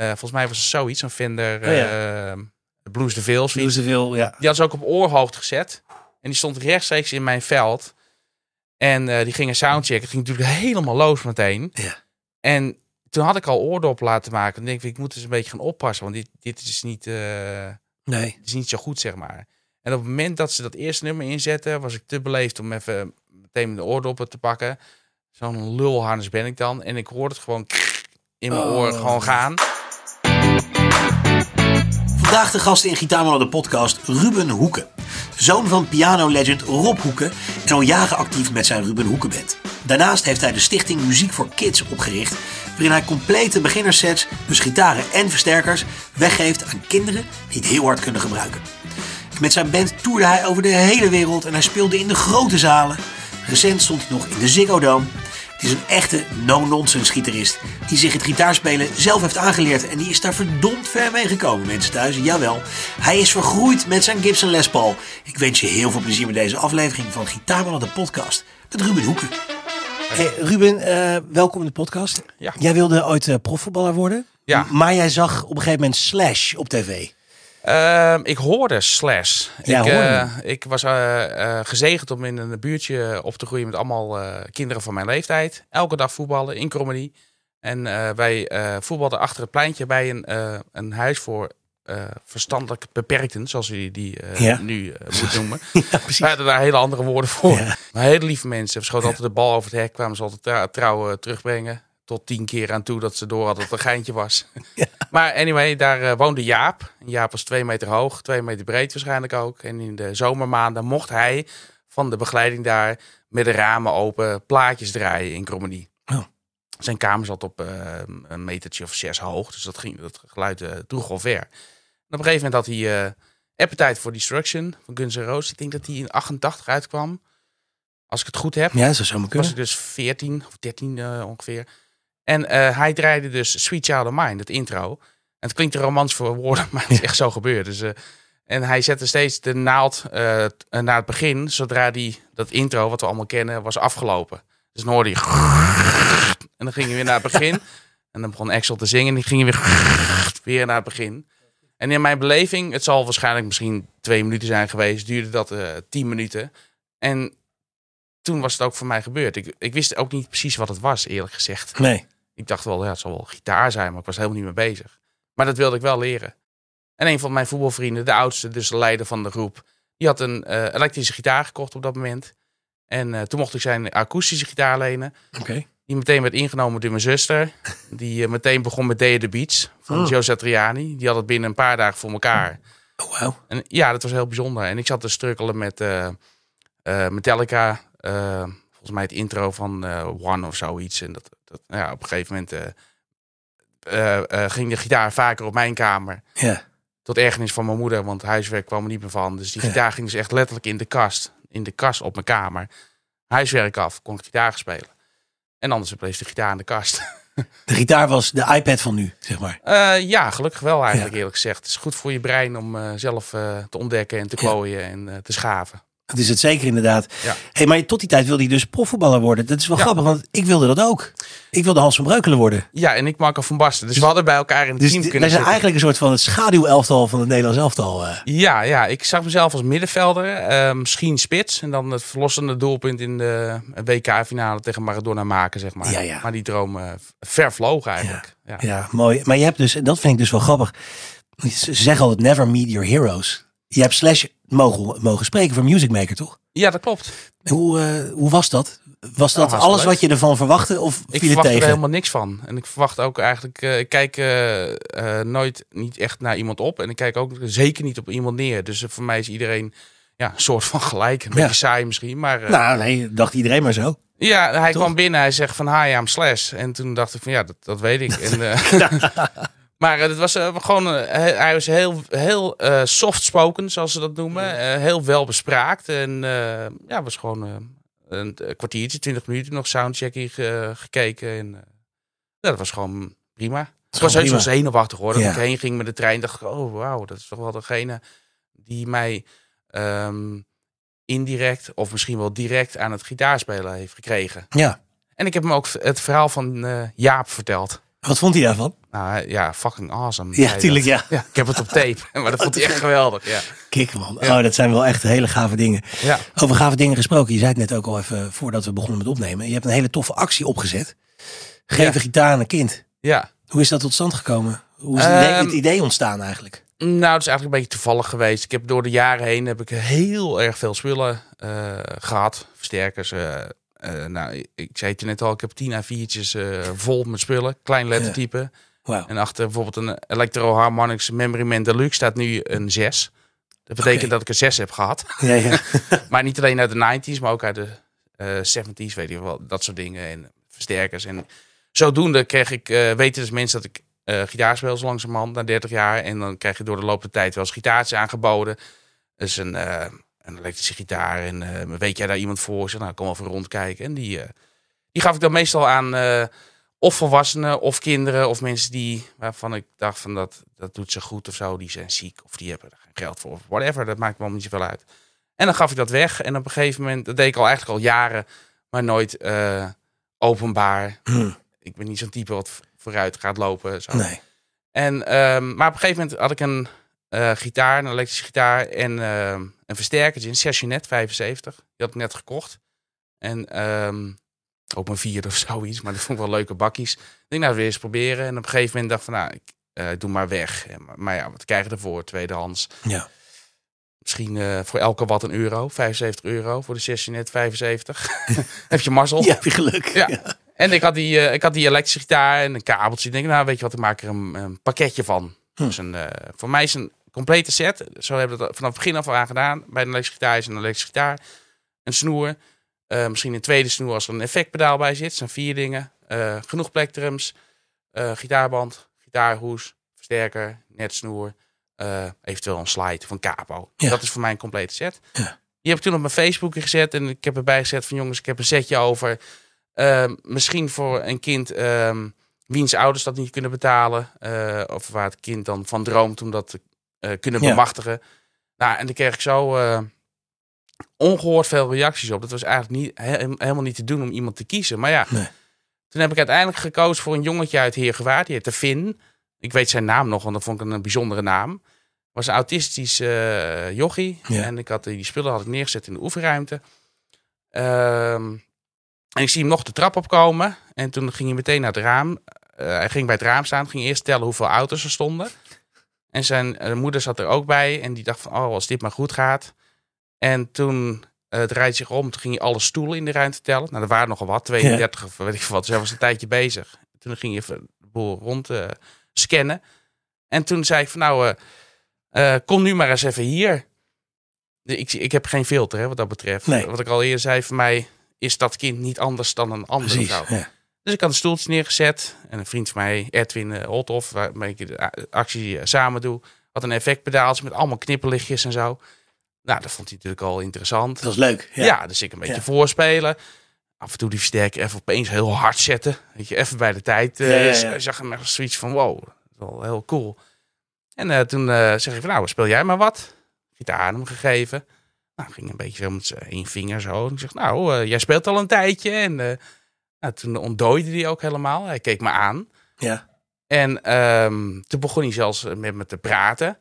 Eh, volgens mij was het zoiets, een vinder. Oh eh, Blues de Veils. Doen ze veel, ja. Die had ze ook op oorhoofd gezet. En die stond rechtstreeks in mijn veld. En eh, die gingen soundchecken. Het ging natuurlijk helemaal los meteen. Ja. En toen had ik al oordop laten maken. Dan denk ik, ik moet dus een beetje gaan oppassen. Want dit, dit is, niet, eh, Nee. dit is niet zo goed, zeg maar. En op het moment dat ze dat eerste nummer inzetten, was ik te beleefd om even meteen de oordoppen te pakken. Zo'n lulharnis ben ik dan. En ik hoorde het gewoon in mijn Oh. oor gewoon gaan. Vandaag de gasten in Gitaarman de podcast Ruben Hoeken. Zoon van pianolegend Rob Hoeken en al jaren actief met zijn Ruben Hoeken Band. Daarnaast heeft hij de stichting Muziek voor Kids opgericht, waarin hij complete beginnersets, dus gitaren en versterkers, weggeeft aan kinderen die het heel hard kunnen gebruiken. Met zijn band toerde hij over de hele wereld en hij speelde in de grote zalen. Recent stond hij nog in de Ziggo Dome. Het is een echte no-nonsense gitarist die zich het gitaarspelen zelf heeft aangeleerd en die is daar verdomd ver mee gekomen, mensen thuis. Jawel, hij is vergroeid met zijn Gibson Les Paul. Ik wens je heel veel plezier met deze aflevering van Gitaarman de podcast met Ruben Hoeken. Hey, Ruben, eh, welkom in de podcast. Ja. Jij wilde ooit eh, profvoetballer worden, Ja. M- maar jij zag op een gegeven moment Slash op tv. Ehm, ik hoorde Slash. Ja, ik, hoorde eh, ik was eh, eh, gezegend om in een buurtje op te groeien met allemaal eh, kinderen van mijn leeftijd. Elke dag voetballen in Cromedy. En eh, wij eh voetbalden achter het pleintje bij een, eh, een huis voor eh, verstandelijk beperkten, zoals jullie die eh, Ja. nu eh, moet noemen. Ja, precies. Wij hadden daar hele andere woorden voor. Ja. Maar hele lieve mensen. We schoten altijd de bal over het hek, kwamen ze altijd tra- trouw eh, terugbrengen. Tot tien keer aan toe dat ze door hadden dat het een geintje was. Ja. Maar anyway, daar eh, woonde Jaap. En Jaap was twee meter hoog, twee meter breed waarschijnlijk ook. En in de zomermaanden mocht hij van de begeleiding daar met de ramen open plaatjes draaien in Cromedy. Oh. Zijn kamer zat op eh, een metertje of zes hoog. Dus dat, ging, dat geluid eh droeg al ver. En op een gegeven moment had hij eh, Appetite for Destruction van Guns N' Roses. Ik denk dat hij in 88 uitkwam. Als ik het goed heb. Ja, dat zou zomaar was kunnen. ik dus 14 of 13 eh, ongeveer. En eh, hij draaide dus Sweet Child of Mine, dat intro. En het klinkt een romans voor woorden, maar het is echt zo gebeurd. Dus, eh, en hij zette steeds de naald eh, t- eh, naar het begin, zodra die, dat intro, wat we allemaal kennen, was afgelopen. Dus dan hoorde hij... En dan ging hij weer naar het begin. En dan begon Axel te zingen en die ging hij weer, weer naar het begin. En in mijn beleving, het zal waarschijnlijk misschien twee minuten zijn geweest, duurde dat eh, tien minuten. En toen was het ook voor mij gebeurd. Ik, ik wist ook niet precies wat het was, eerlijk gezegd. Nee. Ik dacht wel, ja, het zal wel gitaar zijn, maar ik was helemaal niet mee bezig. Maar dat wilde ik wel leren. En een van mijn voetbalvrienden, de oudste, dus de leider van de groep, die had een eh, elektrische gitaar gekocht op dat moment. En eh, toen mocht ik zijn akoestische gitaar lenen. Oké. Die meteen werd ingenomen door mijn zuster. Die eh, meteen begon met Day of the Beach van Oh. Joe Satriani. Die had het binnen een paar dagen voor elkaar. Oh, wauw. En ja, dat was heel bijzonder. En ik zat te strukkelen met eh, eh, Metallica. eh, volgens mij het intro van eh, One of zoiets. En dat, dat, nou ja, op een gegeven moment eh, eh, eh, ging de gitaar vaker op mijn kamer. Ja. Tot ergernis van mijn moeder, want huiswerk kwam er niet meer van. Dus die Ja. gitaar ging dus echt letterlijk in de kast. In de kast op mijn kamer. Huiswerk af, kon ik gitaar spelen. En anders bleef de gitaar in de kast. De gitaar was de iPad van nu, zeg maar. Eh, ja, gelukkig wel eigenlijk Ja. eerlijk gezegd. Het is goed voor je brein om eh, zelf eh, te ontdekken en te klooien en eh, te schaven. Dat is het zeker inderdaad. Ja. Hey, maar tot die tijd wilde hij dus profvoetballer worden. Dat is wel Ja. grappig, want ik wilde dat ook. Ik wilde Hans van Breukelen worden. Ja, en ik Marco van Basten. Dus we hadden bij elkaar in het Dus team d- wij kunnen zijn zitten. eigenlijk een soort van het schaduwelftal van het Nederlands elftal. eh. Ja, ja, ik zag mezelf als middenvelder. eh, misschien spits. En dan het verlossende doelpunt in de WK-finale tegen Maradona maken, zeg maar. Ja, ja. Maar die droom eh, ver vloog eigenlijk. Ja. ja. mooi. Maar je hebt dus, en dat vind ik dus wel grappig. Ze zeggen altijd never meet your heroes. Je hebt Slash mogen, mogen spreken voor Music Maker, toch? Ja, dat klopt. Hoe, eh, hoe was dat? Was dat hartstikke alles leuk. wat je ervan verwachtte of Ik viel het verwacht er tegen? helemaal niks van. En ik verwacht ook eigenlijk... eh, ik kijk eh, eh, nooit niet echt naar iemand op. En ik kijk ook zeker niet op iemand neer. Dus eh, voor mij is iedereen ja, een soort van gelijk. Een Ja. beetje saai misschien, maar... eh, Nou, nee, dacht iedereen maar zo. Ja, hij Toch? kwam binnen. Hij zegt van hi, I'm Slash. En toen dacht ik van ja, dat, dat weet ik. En, eh, maar eh, het was eh, gewoon, eh, hij- hij was heel, heel eh softspoken, zoals ze dat noemen. Eh, heel welbespraakt. En eh, ja, was gewoon eh, een eh, kwartiertje, twintig minuten nog soundchecking ge- gekeken. En, eh, ja, dat was gewoon prima. Ik was heus wel zenuwachtig hoor. Dat Ja. ik heen ging met de trein, dacht ik, oh wauw, dat is toch wel degene die mij ehm, indirect of misschien wel direct aan het gitaarspelen heeft gekregen. Ja. En ik heb hem ook het verhaal van eh, Jaap verteld. Wat vond hij daarvan? Nou, ja, fucking awesome. Ja, zei tuurlijk, Oh, dat. ja. Ik heb het op tape, maar dat vond hij echt geweldig. Ja, Kik man. Ja. Oh, dat zijn wel echt hele gave dingen. ja. Over gave dingen gesproken. Je zei het net ook al even voordat we begonnen met opnemen. Je hebt een hele toffe actie opgezet. Geef Ja. een gitaar aan een kind. ja. Hoe is dat tot stand gekomen? Hoe is het idee- Ehm, het idee ontstaan eigenlijk? Nou, het is eigenlijk een beetje toevallig geweest. Ik heb door de jaren heen heb ik heel erg veel spullen eh, gehad. Versterkers. eh, eh, nou, ik- ik zei het je net al, ik heb 10 A4'tjes eh, vol met spullen. Klein lettertype. Wauw. En achter bijvoorbeeld een Electro Harmonix Memory Man Deluxe staat nu een 6. Dat betekent Oké. dat ik een 6 heb gehad. Ja, ja. maar niet alleen uit de 90s, maar ook uit de eh 70s, weet je wel. Dat soort dingen en versterkers. En zodoende kreeg ik, eh, weten dus mensen dat ik eh gitaar speel zo langzamerhand na 30 jaar. En dan krijg je door de loop der tijd wel eens gitaartjes aangeboden. Dus een, eh, een elektrische gitaar. En eh, weet jij daar iemand voor? Ik zeg, nou, kom even rondkijken. En die, eh, die gaf ik dan meestal aan eh, of volwassenen, of kinderen, of mensen die, waarvan ik dacht van dat, dat doet ze goed of zo. Die zijn ziek of die hebben er geen geld voor. Of whatever, dat maakt me allemaal niet zoveel uit. En dan gaf ik dat weg. En op een gegeven moment, dat deed ik al eigenlijk al jaren, maar nooit eh, openbaar. Hm, Ik ben niet zo'n type wat v- vooruit gaat lopen. Zo. nee. En, ehm, maar op een gegeven moment had ik een eh, gitaar, een elektrische gitaar en ehm, een versterkertje, een Sessionet 75. Die had ik net gekocht. En ehm, ook een vierde of zoiets, maar dat vond ik wel leuke bakjes. Ik denk, nou, weer eens proberen. En op een gegeven moment dacht ik van, nou, ik eh, doe maar weg. En, maar- maar ja, wat krijg je ervoor? Tweedehands Ja. misschien eh, voor elke wat een euro. 75 euro voor de sessie net 75. Heb je mazzel. Ja, heb je geluk. Ja. En ik had, die, eh, ik had die elektrische gitaar en een kabeltje. Ik denk, nou weet je wat, ik maak er een, een pakketje van. Hm. Dus een, eh, voor mij is een complete set. Zo hebben we dat vanaf het begin af aan gedaan. Bij een elektrische gitaar is een elektrische gitaar. Een snoer. eh, misschien een tweede snoer als er een effectpedaal bij zit. Dat zijn vier dingen. Eh, genoeg plektrums. eh, gitaarband, gitaarhoes, versterker, net snoer. eh, eventueel een slide van capo. Ja. Dat is voor mij een complete set. Ja. Die heb ik toen op mijn Facebook gezet. En ik heb erbij gezet van jongens, ik heb een setje over. Ehm, misschien voor een kind ehm, wiens ouders dat niet kunnen betalen. eh, of waar het kind dan van droomt om dat te eh, kunnen Ja. bemachtigen. Nou, en dan kreeg ik zo eh, ongehoord veel reacties op. Dat was eigenlijk niet, he- helemaal niet te doen om iemand te kiezen. Maar ja, Nee. toen heb ik uiteindelijk gekozen voor een jongetje uit Heergewaard. Die heette Finn. Ik weet zijn naam nog, want dat vond ik een bijzondere naam. Was een autistisch eh, jochie. Ja. En ik had, die die spullen had ik neergezet in de oefenruimte. Ehm, en ik zie hem nog de trap opkomen. En toen ging hij meteen naar het raam. Eh, hij ging bij het raam staan, ging eerst tellen hoeveel auto's er stonden. En zijn eh, moeder zat er ook bij. En die dacht van, oh, als dit maar goed gaat. En toen eh, het draait zich om. Toen ging hij alle stoelen in de ruimte tellen. Nou, er waren nogal wat. 32 of weet ik veel wat. Dus hij was een tijdje bezig. Toen ging hij even de boel rond eh, scannen. En toen zei ik van, nou, eh, eh, kom nu maar eens even hier. Ik, ik heb geen filter, hè, wat dat betreft. Nee. Wat ik al eerder zei, voor mij is dat kind niet anders dan een ander. Precies. vrouw. Ja. Dus ik had een stoeltje neergezet. En een vriend van mij, Edwin eh, Holthoff, waarmee ik de a- actie eh, samen doe, had een effectpedaaltje met allemaal knipperlichtjes en zo. Nou, dat vond hij natuurlijk al interessant. Dat was leuk. Ja, Ja. dus ik een beetje Ja. voorspelen. Af en toe die versterker even opeens heel hard zetten. Weet je, even bij de tijd. eh, Ja, ja, ja. z- Zag hem echt zoiets van, wow, dat is wel heel cool. En eh, toen eh, zeg ik van, nou, speel jij maar wat. Gitaar aan hem gegeven. Nou, ging een beetje zo met zijn één vinger zo. En ik zeg, nou, eh, jij speelt al een tijdje. En eh, nou, toen ontdooide hij ook helemaal. Hij keek me aan. Ja. En ehm, toen begon hij zelfs met me te praten.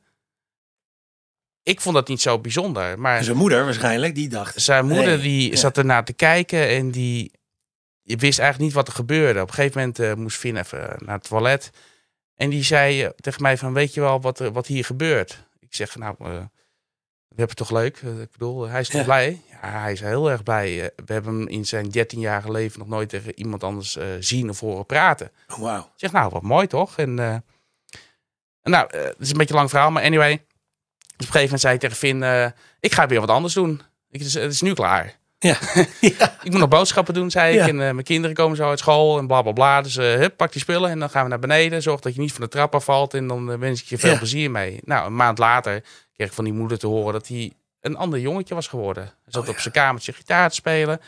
Ik vond dat niet zo bijzonder. Maar En zijn moeder waarschijnlijk, die dacht. zijn moeder Nee, die ja. zat ernaar te kijken en die je wist eigenlijk niet wat er gebeurde. Op een gegeven moment eh, moest Finn even naar het toilet. En die zei eh, tegen mij van, weet je wel wat, er, wat hier gebeurt? Ik zeg, nou, eh, we hebben het toch leuk? Eh, ik bedoel, hij is toch Ja. blij? Ja, hij is heel erg blij. Eh, we hebben hem in zijn 13-jarige leven nog nooit tegen iemand anders eh, zien of horen praten. Wauw. Ik zeg, nou, wat mooi toch? En, eh, nou, eh, het is een beetje een lang verhaal, maar anyway. Dus op een gegeven moment zei ik tegen Finn, eh, ik ga weer wat anders doen. Ik, het, is, het is nu klaar. Ja. ja. Ik moet nog boodschappen doen, zei Ja. ik. En eh, mijn kinderen komen zo uit school en bla bla bla. Dus eh, hup, pak die spullen en dan gaan we naar beneden. Zorg dat je niet van de trap afvalt en dan eh, wens ik je veel Ja. plezier mee. Nou, een maand later kreeg ik van die moeder te horen dat hij een ander jongetje was geworden. Hij zat Oh, ja. op zijn kamertje gitaar te spelen.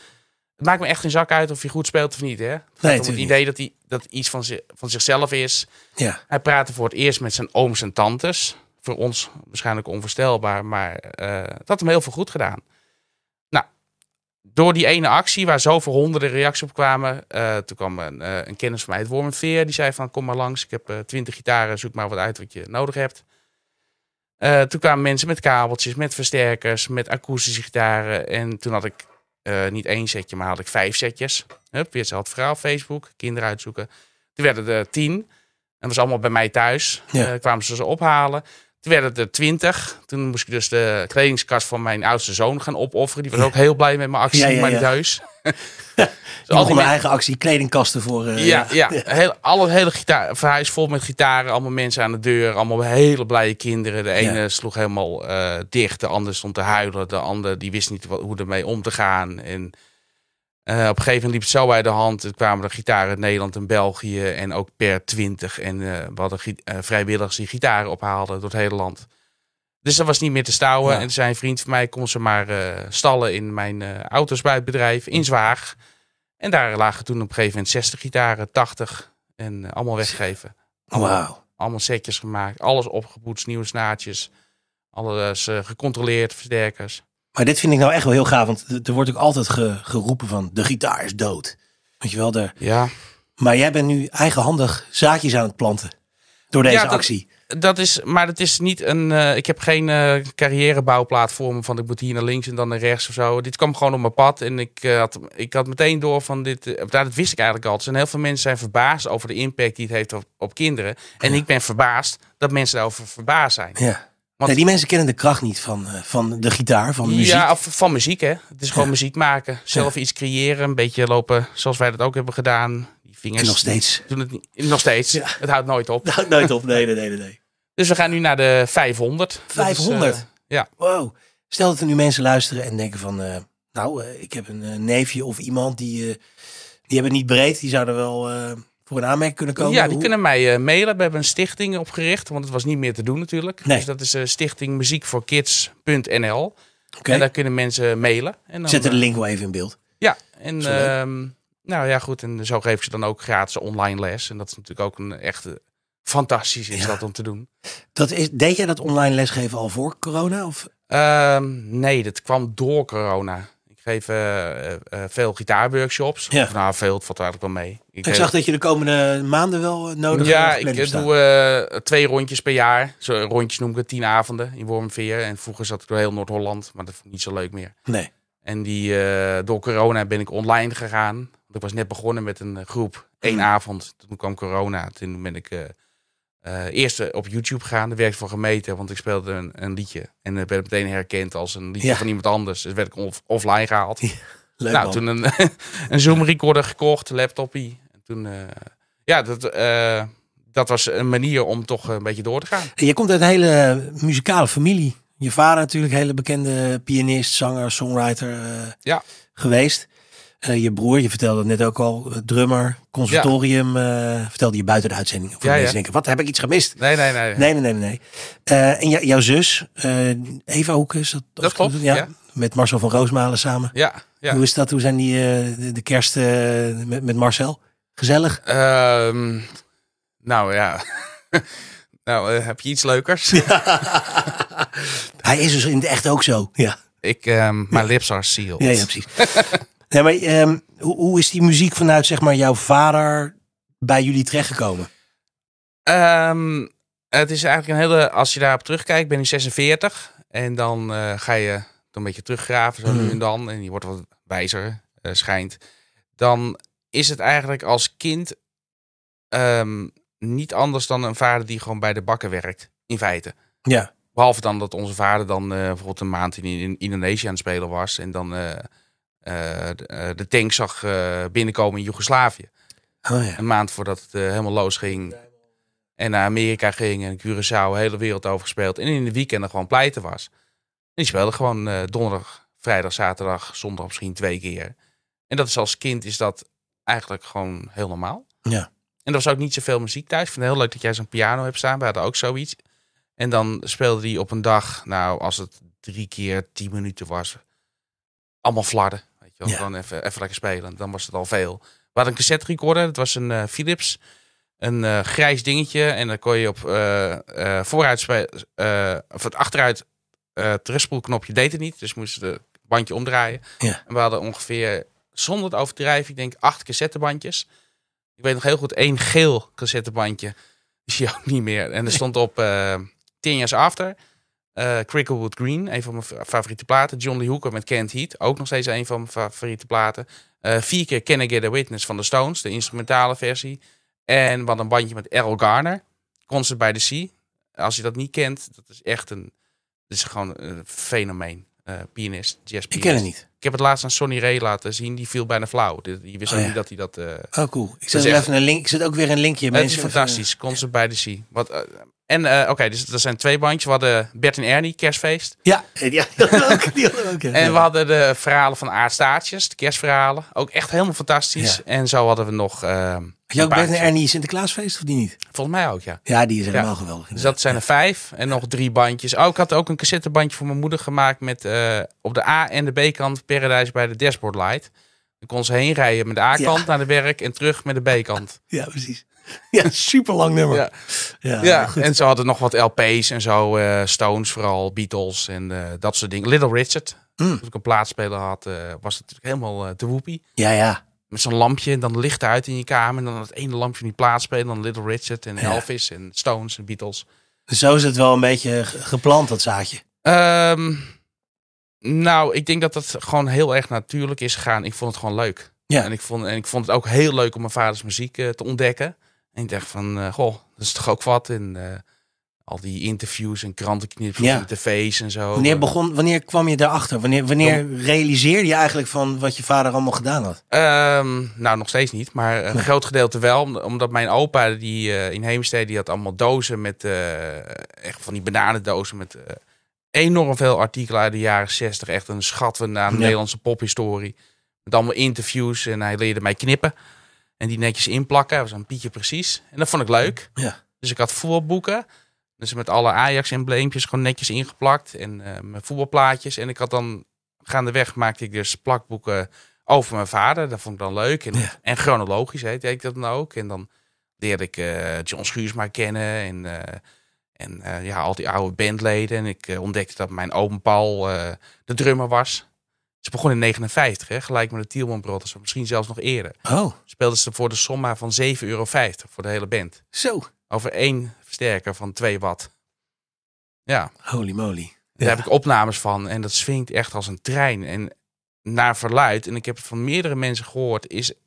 Het maakt me echt geen zak uit of je goed speelt of niet, hè? Het gaat om natuurlijk het niet. idee dat, hij, dat iets van, zi- van zichzelf is. Ja. Hij praatte voor het eerst met zijn ooms en tantes. Voor ons waarschijnlijk onvoorstelbaar, maar eh, het had hem heel veel goed gedaan. Nou, door die ene actie, waar zoveel honderden reacties op kwamen, eh, toen kwam een, eh, een kennis van mij, het Worm en Veer, die zei van kom maar langs, ik heb eh, twintig gitaren, zoek maar wat uit wat je nodig hebt. Eh, toen kwamen mensen met kabeltjes, met versterkers, met akoestische gitaren. En toen had ik eh, niet één setje, maar had ik vijf setjes. Hup, weer ze had verhaal, Facebook, kinderen uitzoeken. Toen werden er tien. En dat was allemaal bij mij thuis. Ja. Eh, kwamen ze ze ophalen. Toen werden het er twintig. Toen moest ik dus de kledingskast van mijn oudste zoon gaan opofferen. Die was ook heel blij met mijn actie, Ja, ja, maar ja. niet thuis. Dus Nog een eigen actie, kledingkasten voor... eh, Ja, ja. Heel, alle hele gitaar, verhuis vol met gitaren. Allemaal mensen aan de deur. Allemaal hele blije kinderen. De ene Ja. sloeg helemaal eh, dicht. De ander stond te huilen. De ander die wist niet wat, hoe ermee om te gaan. En eh, op een gegeven moment liep het zo uit de hand. Er kwamen er gitaren uit Nederland en België. En ook per twintig. En eh, we hadden gi- eh, vrijwilligers die gitaren ophaalden door het hele land. Dus dat was niet meer te stouwen. Ja. En toen zei een vriend van mij, kon ze maar eh, stallen in mijn eh, auto's bij het bedrijf in Zwaag. En daar lagen toen op een gegeven moment 60 gitaren, 80 en eh, allemaal weggegeven. Wauw. Allemaal setjes gemaakt, alles opgepoetst, nieuwe snaartjes. Alles eh, gecontroleerd, versterkers. Maar dit vind ik nou echt wel heel gaaf, want er wordt ook altijd ge- geroepen van de gitaar is dood. Weet je wel, daar. Ja, Maar jij bent nu eigenhandig zaadjes aan het planten door deze Ja, dat- actie. dat is, maar het is niet een. eh, ik heb geen eh carrièrebouwplaat voor me van ik moet hier naar links en dan naar rechts of zo. Dit kwam gewoon op mijn pad en ik, eh, had, ik had meteen door van dit. eh, nou, dat wist ik eigenlijk al. En heel veel mensen zijn verbaasd over de impact die het heeft op, op kinderen. En ik ben verbaasd dat mensen daarover verbaasd zijn. Ja. Want- Nee, die mensen kennen de kracht niet van, eh, van de gitaar, van muziek. Ja, oh, of van muziek hè. Het is gewoon muziek maken. Zelf iets creëren, een beetje lopen zoals wij dat ook hebben gedaan. Die vingers en nog steeds. doen het niet, nog steeds. Ja. Het houdt Nou, nooit op. Nooit op, nee, nee, nee, nee, nee. Dus we gaan nu naar de 500. Dat is, eh, 500? ja. Wow. Stel dat er nu mensen luisteren en denken van, eh, nou, eh, ik heb een eh, neefje of iemand die, eh, die hebben het niet breed, die zouden wel eh, voor een aanmerking kunnen komen. Ja, die Hoe- kunnen mij eh, mailen. We hebben een stichting opgericht, want het was niet meer te doen natuurlijk. Nee. Dus dat is eh, stichting muziekvoorkids.nl. Oké. En daar kunnen mensen mailen. En dan, Zetten de eh, link wel even in beeld. Ja, en Zo leuk. ehm, nou ja, goed. En zo geef ik ze dan ook gratis online les. En dat is natuurlijk ook een echte fantastisch is Ja. dat om te doen. Dat is, deed jij dat online lesgeven al voor corona? Of? Ehm, nee, dat kwam door corona. Ik geef eh, eh, eh, veel gitaarworkshops. Ja. Of, nou, veel, het valt eigenlijk wel mee. Ik zag dat je de komende maanden wel eh, nodig Ja, eh, ik gepland eh, hebt staan. doe eh, twee rondjes per jaar. Zo, rondjes noem ik het tien avonden in Wormveer. En vroeger zat ik door heel Noord-Holland, maar dat vond ik niet zo leuk meer. Nee. En die, eh, door corona ben ik online gegaan. Want ik was net begonnen met een eh, groep. één Hmm. avond. Toen kwam corona. Toen ben ik eh eh, eerst eh, op YouTube gegaan. Daar werd ik voor gemeten, want ik speelde een, een liedje. En dat werd meteen herkend als een liedje Ja. van iemand anders. Dus werd ik off- offline gehaald. Leuk nou, man. toen een, een Zoom-recorder gekocht, laptopie. En toen, eh, ja, dat, eh, dat was een manier om toch een beetje door te gaan. En Je komt uit een hele eh, muzikale familie. Je vader natuurlijk, hele bekende pianist, zanger, songwriter eh, Ja. geweest. Eh, je broer, je vertelde het net ook al, eh, drummer, conservatorium. eh, vertelde je buiten de uitzending. Voor de Ja, mensen ja. denken, wat heb ik iets gemist? Nee, nee, nee. Nee, nee, nee, nee. nee. Eh, en jou- jouw zus, eh, Eva Hoekes. Dat, als ik het klopt, goed- ja. Met Marcel van Roosmalen samen. Ja, ja. Hoe is dat? Hoe zijn die eh, de, de kerst eh, met, met Marcel? Gezellig? Ehm, nou ja. nou, eh, heb je iets leukers? Hij is dus in het echt ook zo. Ja, Ik, ehm mijn lips are sealed. ja, ja precies. nee, maar ehm, hoe, hoe is die muziek vanuit zeg maar, jouw vader bij jullie terechtgekomen? Ehm, het is eigenlijk een hele, als je daarop terugkijkt, ben ik 46. En dan eh, ga je toch een beetje teruggraven, zo nu Mhm. en dan. En je wordt wat wijzer, eh, schijnt. Dan is het eigenlijk als kind ehm, niet anders dan een vader die gewoon bij de bakken werkt, in feite. Ja. Behalve dan dat onze vader dan eh, bijvoorbeeld een maand in, in Indonesië aan het spelen was. En dan eh, eh, de, eh, de tank zag eh, binnenkomen in Joegoslavië Oh ja. een maand voordat het eh, helemaal los ging. En naar Amerika ging en Curaçao, de hele wereld over gespeeld. En in de weekenden gewoon pleiten was. En die speelde gewoon eh, donderdag, vrijdag, zaterdag, zondag misschien twee keer. En dat is als kind is dat eigenlijk gewoon heel normaal. Ja. En er was ook niet zoveel muziek thuis. Ik vind het heel leuk dat jij zo'n piano hebt staan. We hadden ook zoiets. En dan speelde die op een dag, nou als het drie keer tien minuten was, allemaal flarden. Weet je wel. Ja. Dan even, even lekker spelen. Dan was het al veel. We hadden een cassette recorder. Dat was een eh, Philips. Een eh, grijs dingetje. En dan kon je op eh, eh, vooruit spe- eh, of het achteruit eh terugspoelknopje deed het niet. Dus moest de bandje omdraaien. Ja. En we hadden ongeveer, zonder het overdrijven, ik denk acht cassettebandjes. Ik weet nog heel goed, één geel cassettebandje. Die zie je ook niet meer. En er stond op eh Ten Years After, eh Cricklewood Green, een van mijn fa- favoriete platen. John Lee Hooker met Can't Heat, ook nog steeds een van mijn favoriete platen. Eh, vier keer Can I Get a Witness van de Stones, de instrumentale versie. En wat een bandje met Errol Garner, Concert by the Sea. Als je dat niet kent, dat is echt een, dat is gewoon een fenomeen. Eh, pianist, jazz Ik ken het niet. ik heb het laatst aan Sonny Ray laten zien. Die viel bijna flauw. Die, die wist Oh, ook ja. niet dat hij dat... eh, Oh, cool. Ik Dat zet, is er echt- even een link, ik zet ook weer een linkje. het is mensen. fantastisch. Concert bij de Sea. Wat, eh, en eh, oké, dus dat zijn twee bandjes. We hadden Bert en Ernie, kerstfeest. Ja, ja die hadden we ook. Die hadden we ook ja. En we hadden de verhalen van aardstaartjes, de kerstverhalen. Ook echt helemaal fantastisch. Ja. En zo hadden we nog... eh, Had je ook een Bert en paar. Ernie Sinterklaasfeest of die niet? Volgens mij ook, ja. Ja, die is helemaal Ja. geweldig. Dus dat zijn er vijf en nog drie bandjes. Oh, ik had ook een cassettebandje voor mijn moeder gemaakt met eh, op de A- en de B-kant Paradise bij de Dashboard Light. Dan kon ze heen rijden met de A-kant Ja. naar de werk en terug met de B-kant. Ja, precies. Ja, super lang nummer. Ja. Ja, ja, Ja, goed. en ze hadden nog wat LP's en zo. eh, Stones vooral, Beatles en eh, dat soort dingen. Little Richard. Mm. Als ik een plaatspeler had, eh, was het natuurlijk helemaal eh, te woepie. ja, ja. Met zo'n lampje en dan licht uit in je kamer. En dan het ene lampje van die plaatspeler. Dan Little Richard en Ja. Elvis en Stones en Beatles. Dus Zo is het wel een beetje ge- geplant, dat zaadje. Ehm, nou, ik denk dat dat gewoon heel erg natuurlijk is gegaan. Ik vond het gewoon leuk. Ja. En, ik vond, en ik vond het ook heel leuk om mijn vaders muziek eh, te ontdekken. En ik dacht van, eh, goh, dat is toch ook wat. En eh, al die interviews en krantenknipjes Ja. en tv's en zo. Wanneer, begon, wanneer kwam je daarachter? Wanneer, wanneer realiseerde je eigenlijk van wat je vader allemaal gedaan had? Ehm, nou, nog steeds niet, maar een groot gedeelte wel. om- Omdat mijn opa die, eh, in Heemstede, die had allemaal dozen met, eh, echt van die bananendozen met eh, enorm veel artikelen uit de jaren 60. Echt een schat van aan de Ja. Nederlandse pophistorie. Met allemaal interviews en hij leerde mij knippen. En die netjes inplakken, dat was een pietje precies. En dat vond ik leuk. Ja. Dus ik had voetbalboeken. Dus met alle Ajax-embleempjes gewoon netjes ingeplakt. En eh, mijn voetbalplaatjes. En ik had dan gaandeweg maakte ik dus plakboeken over mijn vader. Dat vond ik dan leuk. En, Ja. en chronologisch heet, deed ik dat dan ook. En dan leerde ik eh, John Schuursma kennen. En, eh, en eh, ja, al die oude bandleden. En ik eh, ontdekte dat mijn oom Paul eh, de drummer was. Ze begon in 59, hè, gelijk met de Tielman Brothers. of Misschien zelfs nog eerder. Oh, Speelden ze voor de somma van 7,50 euro voor de hele band. zo. Over één versterker van 2 watt. Ja, Holy moly. daar Ja. heb ik opnames van. En dat swingt echt als een trein. En naar verluid, en ik heb het van meerdere mensen gehoord, is eh,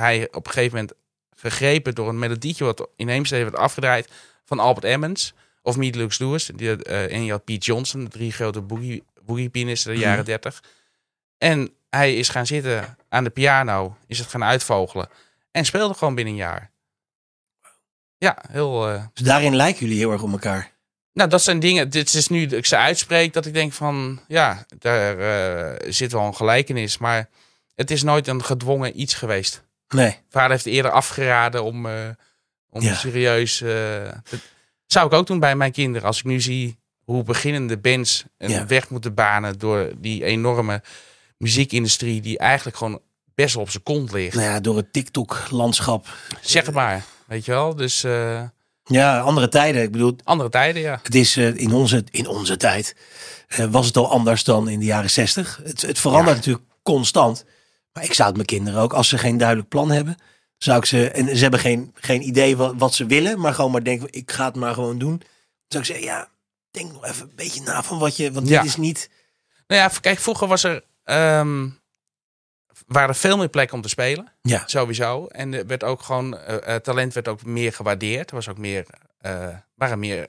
hij op een gegeven moment gegrepen door een melodietje wat in Heemstede werd afgedraaid van Albert Emmons of Meat Lux Lewis. Die, eh, en je had Pete Johnson, de drie grote boogie, boogie pianisten der Mhm. jaren 30. En hij is gaan zitten aan de piano, is het gaan uitvogelen en speelde gewoon binnen een jaar. Ja, heel... eh, Dus daarin lijken jullie heel erg op elkaar. nou, dat zijn dingen. Dit is nu dat ik ze uitspreek dat ik denk van ja, daar eh, zit wel een gelijkenis. Maar het is nooit een gedwongen iets geweest. Nee. Vader heeft eerder afgeraden om, eh, om Ja. serieus. eh, dat zou ik ook doen bij mijn kinderen. Als ik nu zie hoe beginnende bands een Ja. weg moeten banen door die enorme muziekindustrie, die eigenlijk gewoon best wel op zijn kont ligt. Nou ja, door het TikTok-landschap. Zeg het maar. Weet je wel? Dus eh, Ja, andere tijden. Ik bedoel, andere tijden, ja. Het is eh, in, onze, in onze tijd eh, was het al anders dan in de jaren zestig. Het, het verandert natuurlijk constant. Maar ik zou het mijn kinderen ook, als ze geen duidelijk plan hebben, zou ik ze. En ze hebben geen, geen idee wat, wat ze willen, maar gewoon maar denken, ik ga het maar gewoon doen. Zou ik zeggen, ja, denk nog even een beetje na van wat je. Want Ja. dit is niet. Nou ja, kijk, vroeger was er, ehm, waren er veel meer plekken om te spelen. Ja. Sowieso. En er werd ook gewoon, eh, eh, talent werd ook meer gewaardeerd. Er was ook meer, eh waren meer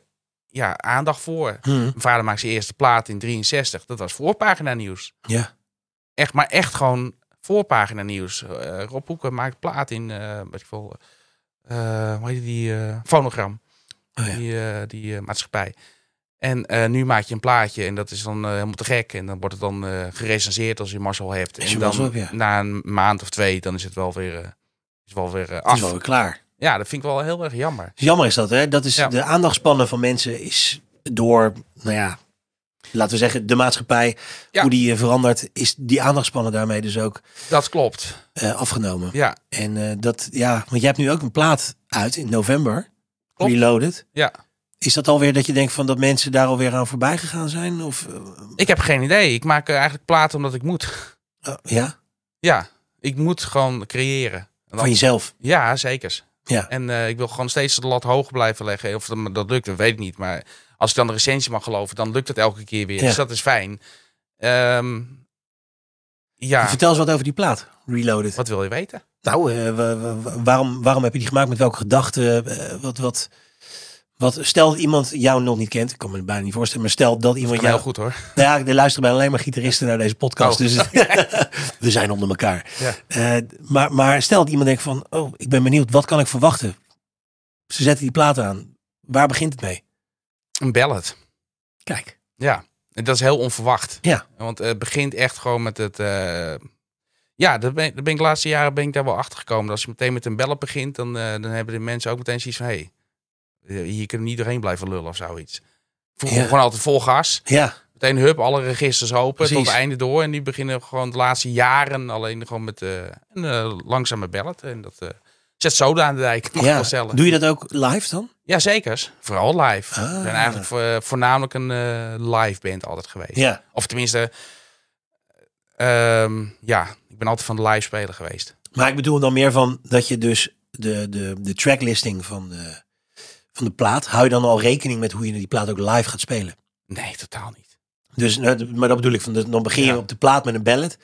ja, aandacht voor. Hm, Mijn vader maakte zijn eerste plaat in 63. Dat was voorpagina nieuws. ja. Echt, maar echt gewoon voorpagina nieuws. Eh, Rob Hoeken maakt plaat in, eh weet ik veel, eh, hoe heet die, eh, fonogram Oh, ja. die, eh, die eh, maatschappij. En eh, nu maak je een plaatje en dat is dan eh, helemaal te gek. En dan wordt het dan eh gerecenseerd als je mazzel hebt. Als je en dan mazzel hebt, ja. na een maand of twee, dan is het wel weer, eh, is wel weer eh, Het af. is wel weer klaar. Ja, dat vind ik wel heel erg jammer. Jammer is dat, hè? Dat is Ja. de aandachtspannen van mensen is door, nou ja, laten we zeggen, de maatschappij, Ja. hoe die eh, verandert, is die aandachtspannen daarmee dus ook Dat klopt. eh, afgenomen. Ja, En eh, dat, ja, want jij hebt nu ook een plaat uit in november, Klopt. Reloaded. ja. Is dat alweer dat je denkt van dat mensen daar alweer aan voorbij gegaan zijn? Of, eh, Ik heb geen idee. Ik maak eh, eigenlijk platen omdat ik moet. eh, ja, Ja, ik moet gewoon creëren. En van dan- jezelf. Ja, zeker. Ja. En eh, ik wil gewoon steeds de lat hoog blijven leggen. Of dat, me dat lukt, dat weet ik niet. Maar als ik dan de recensie mag geloven, dan lukt het elke keer weer. Ja. Dus dat is fijn. Ehm, ja, Vertel eens wat over die plaat, Reloaded. wat wil je weten? Nou, eh, wa- wa- wa- waarom, waarom heb je die gemaakt? Met welke gedachten? Eh, wat, wat, wat, stel dat iemand jou nog niet kent. Ik kan me het bijna niet voorstellen. Maar stel dat Kan iemand heel jou... goed hoor. Nou ja, er luisteren bijna alleen maar gitaristen naar deze podcast. Oh. Dus we zijn onder elkaar. Ja. Eh, maar, maar stel dat iemand denkt van... Oh, ik ben benieuwd. Wat kan ik verwachten? Ze zetten die plaat aan. Waar begint het mee? Een ballad. Kijk. Ja, en dat is heel onverwacht. Ja. Want eh, het begint echt gewoon met het. eh, ja, daar ben, daar ben ik de laatste jaren ben ik daar wel achter gekomen. Als je meteen met een bellen begint, dan, eh, dan hebben de mensen ook meteen zoiets van: hé, hey, eh, hier kunnen we niet doorheen blijven lullen of zoiets. Vroeger Ja. gewoon altijd vol gas. Ja, Meteen hup, alle registers open tot Precies. het einde door. En nu beginnen we gewoon de laatste jaren alleen gewoon met eh, een eh, langzame ballet. En dat eh, zet soda aan de dijk, mag ik ja. wel stellen. Doe je dat ook live dan? Ja, zeker. Vooral live. Ah. We zijn eigenlijk voor- voornamelijk een eh, live band altijd geweest. Ja. Of tenminste, ehm, ja, ik ben altijd van de live spelen geweest. Maar ik bedoel dan meer van dat je dus de, de, de tracklisting van de, van de plaat, hou je dan al rekening met hoe je die plaat ook live gaat spelen. Nee, totaal niet. Dus, nou, d- maar dat bedoel ik, van, dat- dan begin je Ja. op de plaat met een ballad.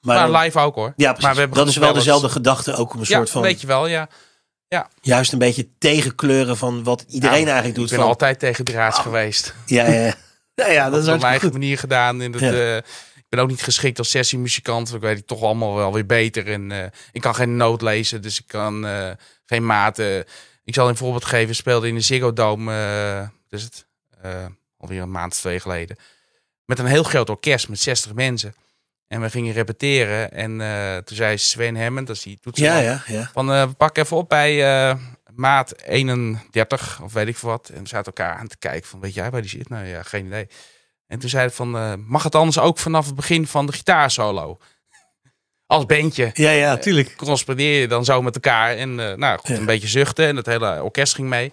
Maar, Maar, dan- live ook hoor. ja, precies. maar we hebben dat is wel genoeg ballads. dezelfde gedachte ook om een Ja, soort van, weet je wel, ja. juist een beetje tegenkleuren van wat iedereen Ja, eigenlijk Ik doet. ben van, Ah. altijd tegen draads geweest. Ja, ja, ja. ja, ja, dat Dat is is op mijn hartstikke eigen goed. manier gedaan. En dat, Ja. eh, ik ben ook niet geschikt als sessiemuzikant. want Ik weet het toch allemaal wel weer beter. En eh, ik kan geen noot lezen, dus ik kan eh, geen maten. Ik zal een voorbeeld geven. Ik speelde in de Ziggo Dome, eh, dus het, eh, alweer een maand of twee geleden. Met een heel groot orkest met 60 mensen. En we gingen repeteren. En eh, toen zei Sven Hammond, dat is die toetsenman, Ja, ja, ja. van eh, we pak even op bij eh, maat 31 of weet ik veel wat. En we zaten elkaar aan te kijken van weet jij waar die zit? Nou ja, geen idee. En toen zei het van eh, mag het anders ook vanaf het begin van de gitaarsolo? Als bandje Ja, ja, tuurlijk. correspondeer je dan zo met elkaar. En eh, nou goed, Ja. een beetje zuchten en het hele orkest ging mee.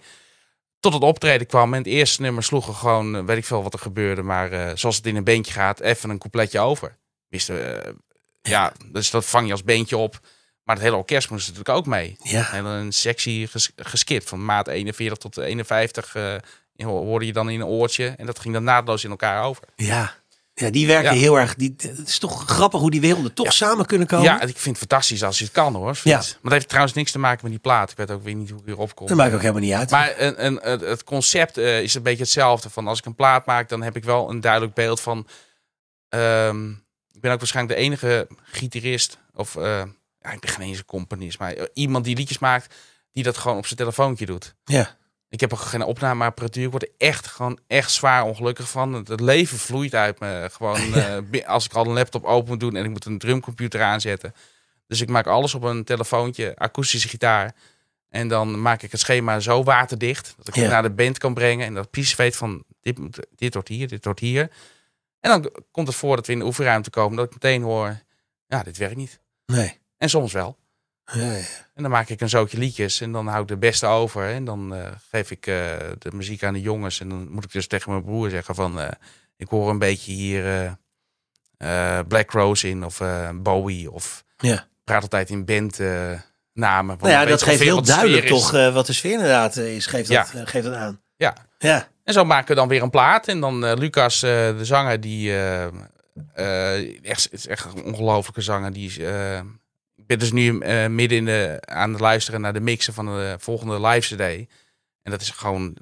Tot het optreden kwam en het eerste nummer sloegen gewoon, eh, weet ik veel wat er gebeurde. Maar eh, zoals het in een bandje gaat, even een coupletje over. Wisten we, eh, ja, dus dat vang je als bandje op. Maar het hele orkest moest natuurlijk ook mee. Ja, En dan een sectie ges- geskipt. Van maat 41 tot 51 eh, hoorde je dan in een oortje. En dat ging dan naadloos in elkaar over. ja. Ja, die werken Ja. heel erg. Die, het is toch grappig hoe die werelden toch samen kunnen komen. Ja, ik vind het fantastisch als je het kan hoor. Ja. Ja. Maar dat heeft trouwens niks te maken met die plaat. Ik weet ook weer niet hoe ik hierop kom. Dat maakt ook helemaal niet uit. Maar een, een, het- het concept eh, is een beetje hetzelfde. Van als ik een plaat maak, dan heb ik wel een duidelijk beeld van. ehm, ik ben ook waarschijnlijk de enige gitarist. Of eh, ja, ik ben geen eens een componist, maar eh, iemand die liedjes maakt, die dat gewoon op zijn telefoontje doet. ja. Ik heb ook geen opnameapparatuur. Ik word er echt gewoon echt zwaar ongelukkig van. Het, het leven vloeit uit me. Gewoon eh, bi- als ik al een laptop open moet doen en ik moet een drumcomputer aanzetten. Dus ik maak alles op een telefoontje, akoestische gitaar. En dan maak ik het schema zo waterdicht dat ik Ja. het naar de band kan brengen. En dat precies weet van dit, moet- dit wordt hier, dit wordt hier. En dan k- komt het voor dat we in de oefenruimte komen dat ik meteen hoor, ja, dit werkt niet. Nee. En soms wel. Ja, ja. En dan maak ik een zootje liedjes en dan hou ik de beste over. En dan eh, geef ik eh, de muziek aan de jongens. En dan moet ik dus tegen mijn broer zeggen van... eh, ik hoor een beetje hier eh, eh, Black Rose in of eh, Bowie. Of Ja. ik praat altijd in bandnamen. namen. want Nou ja, ik weet dat geeft ongeveer heel wat de sfeer duidelijk is. toch eh, wat de sfeer inderdaad eh, is. Geeft dat, eh, geeft dat aan. Ja. Ja, En zo maken we dan weer een plaat. En dan eh, Lucas, eh, de zanger, die... eh eh, echt, is echt een ongelofelijke zanger. Die is, eh, ik ben dus nu eh, midden in de, aan het luisteren naar de mixen van de volgende live CD. En dat is gewoon...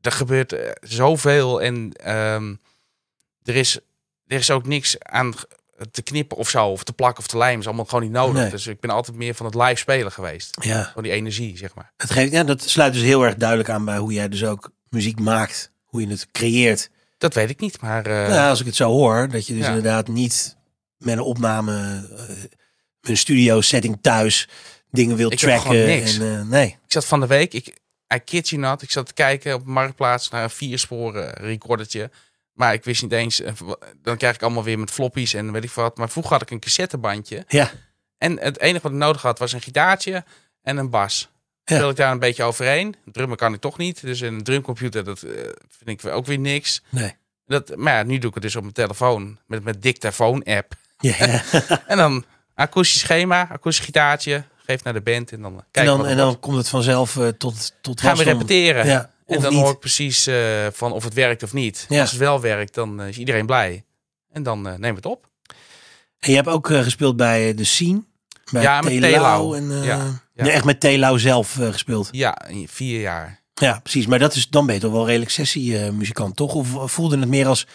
Er gebeurt eh, zoveel en ehm, er, is, er is ook niks aan g- te knippen of zo. Of te plakken of te lijmen. is allemaal gewoon niet nodig. Nee. Dus ik ben altijd meer van het live spelen geweest. ja. Van die energie, zeg maar. Het geeft, ja. Dat sluit dus heel erg duidelijk aan bij hoe jij dus ook muziek maakt. Hoe je het creëert. Dat weet ik niet, maar... eh, Nou, als ik het zo hoor, dat je dus Ja. inderdaad niet met een opname, eh, met een studio setting thuis, dingen wilt Ik heb tracken. gewoon niks. En, eh, nee. Ik zat van de week, ik, I kid you not, ik zat te kijken op Marktplaats naar een viersporen recordertje. Maar ik wist niet eens, eh, wa- dan krijg ik allemaal weer met floppies en weet ik veel wat. Maar vroeger had ik een cassettebandje. Ja. En het enige wat ik nodig had was een gitaartje en een bas. Ja. Speel ik daar een beetje overheen. Drummen kan ik toch niet. Dus een drumcomputer, dat eh, vind ik ook weer niks. Nee. Dat, maar ja, nu doe ik het dus op mijn telefoon. Met mijn dictafoon-app. Ja. En dan akoestisch schema, akoestisch gitaartje. Geef naar de band en dan kijken wat en dan, er en wordt. dan komt het vanzelf eh, tot, tot Gaan we wasdom. repeteren. Ja, En of dan niet. hoor ik precies eh, van of het werkt of niet. Ja. Als het wel werkt, dan eh, is iedereen blij. En dan eh nemen we het op. En je hebt ook eh, gespeeld bij eh, de Scene. Bij Ja, met Telau Telau. En, eh, Ja, ja. Nee, echt met Telau zelf eh, gespeeld. Ja, in vier jaar. Ja, precies. Maar dat is, dan ben je toch wel redelijk sessiemuzikant, toch? Of eh, voelde het meer als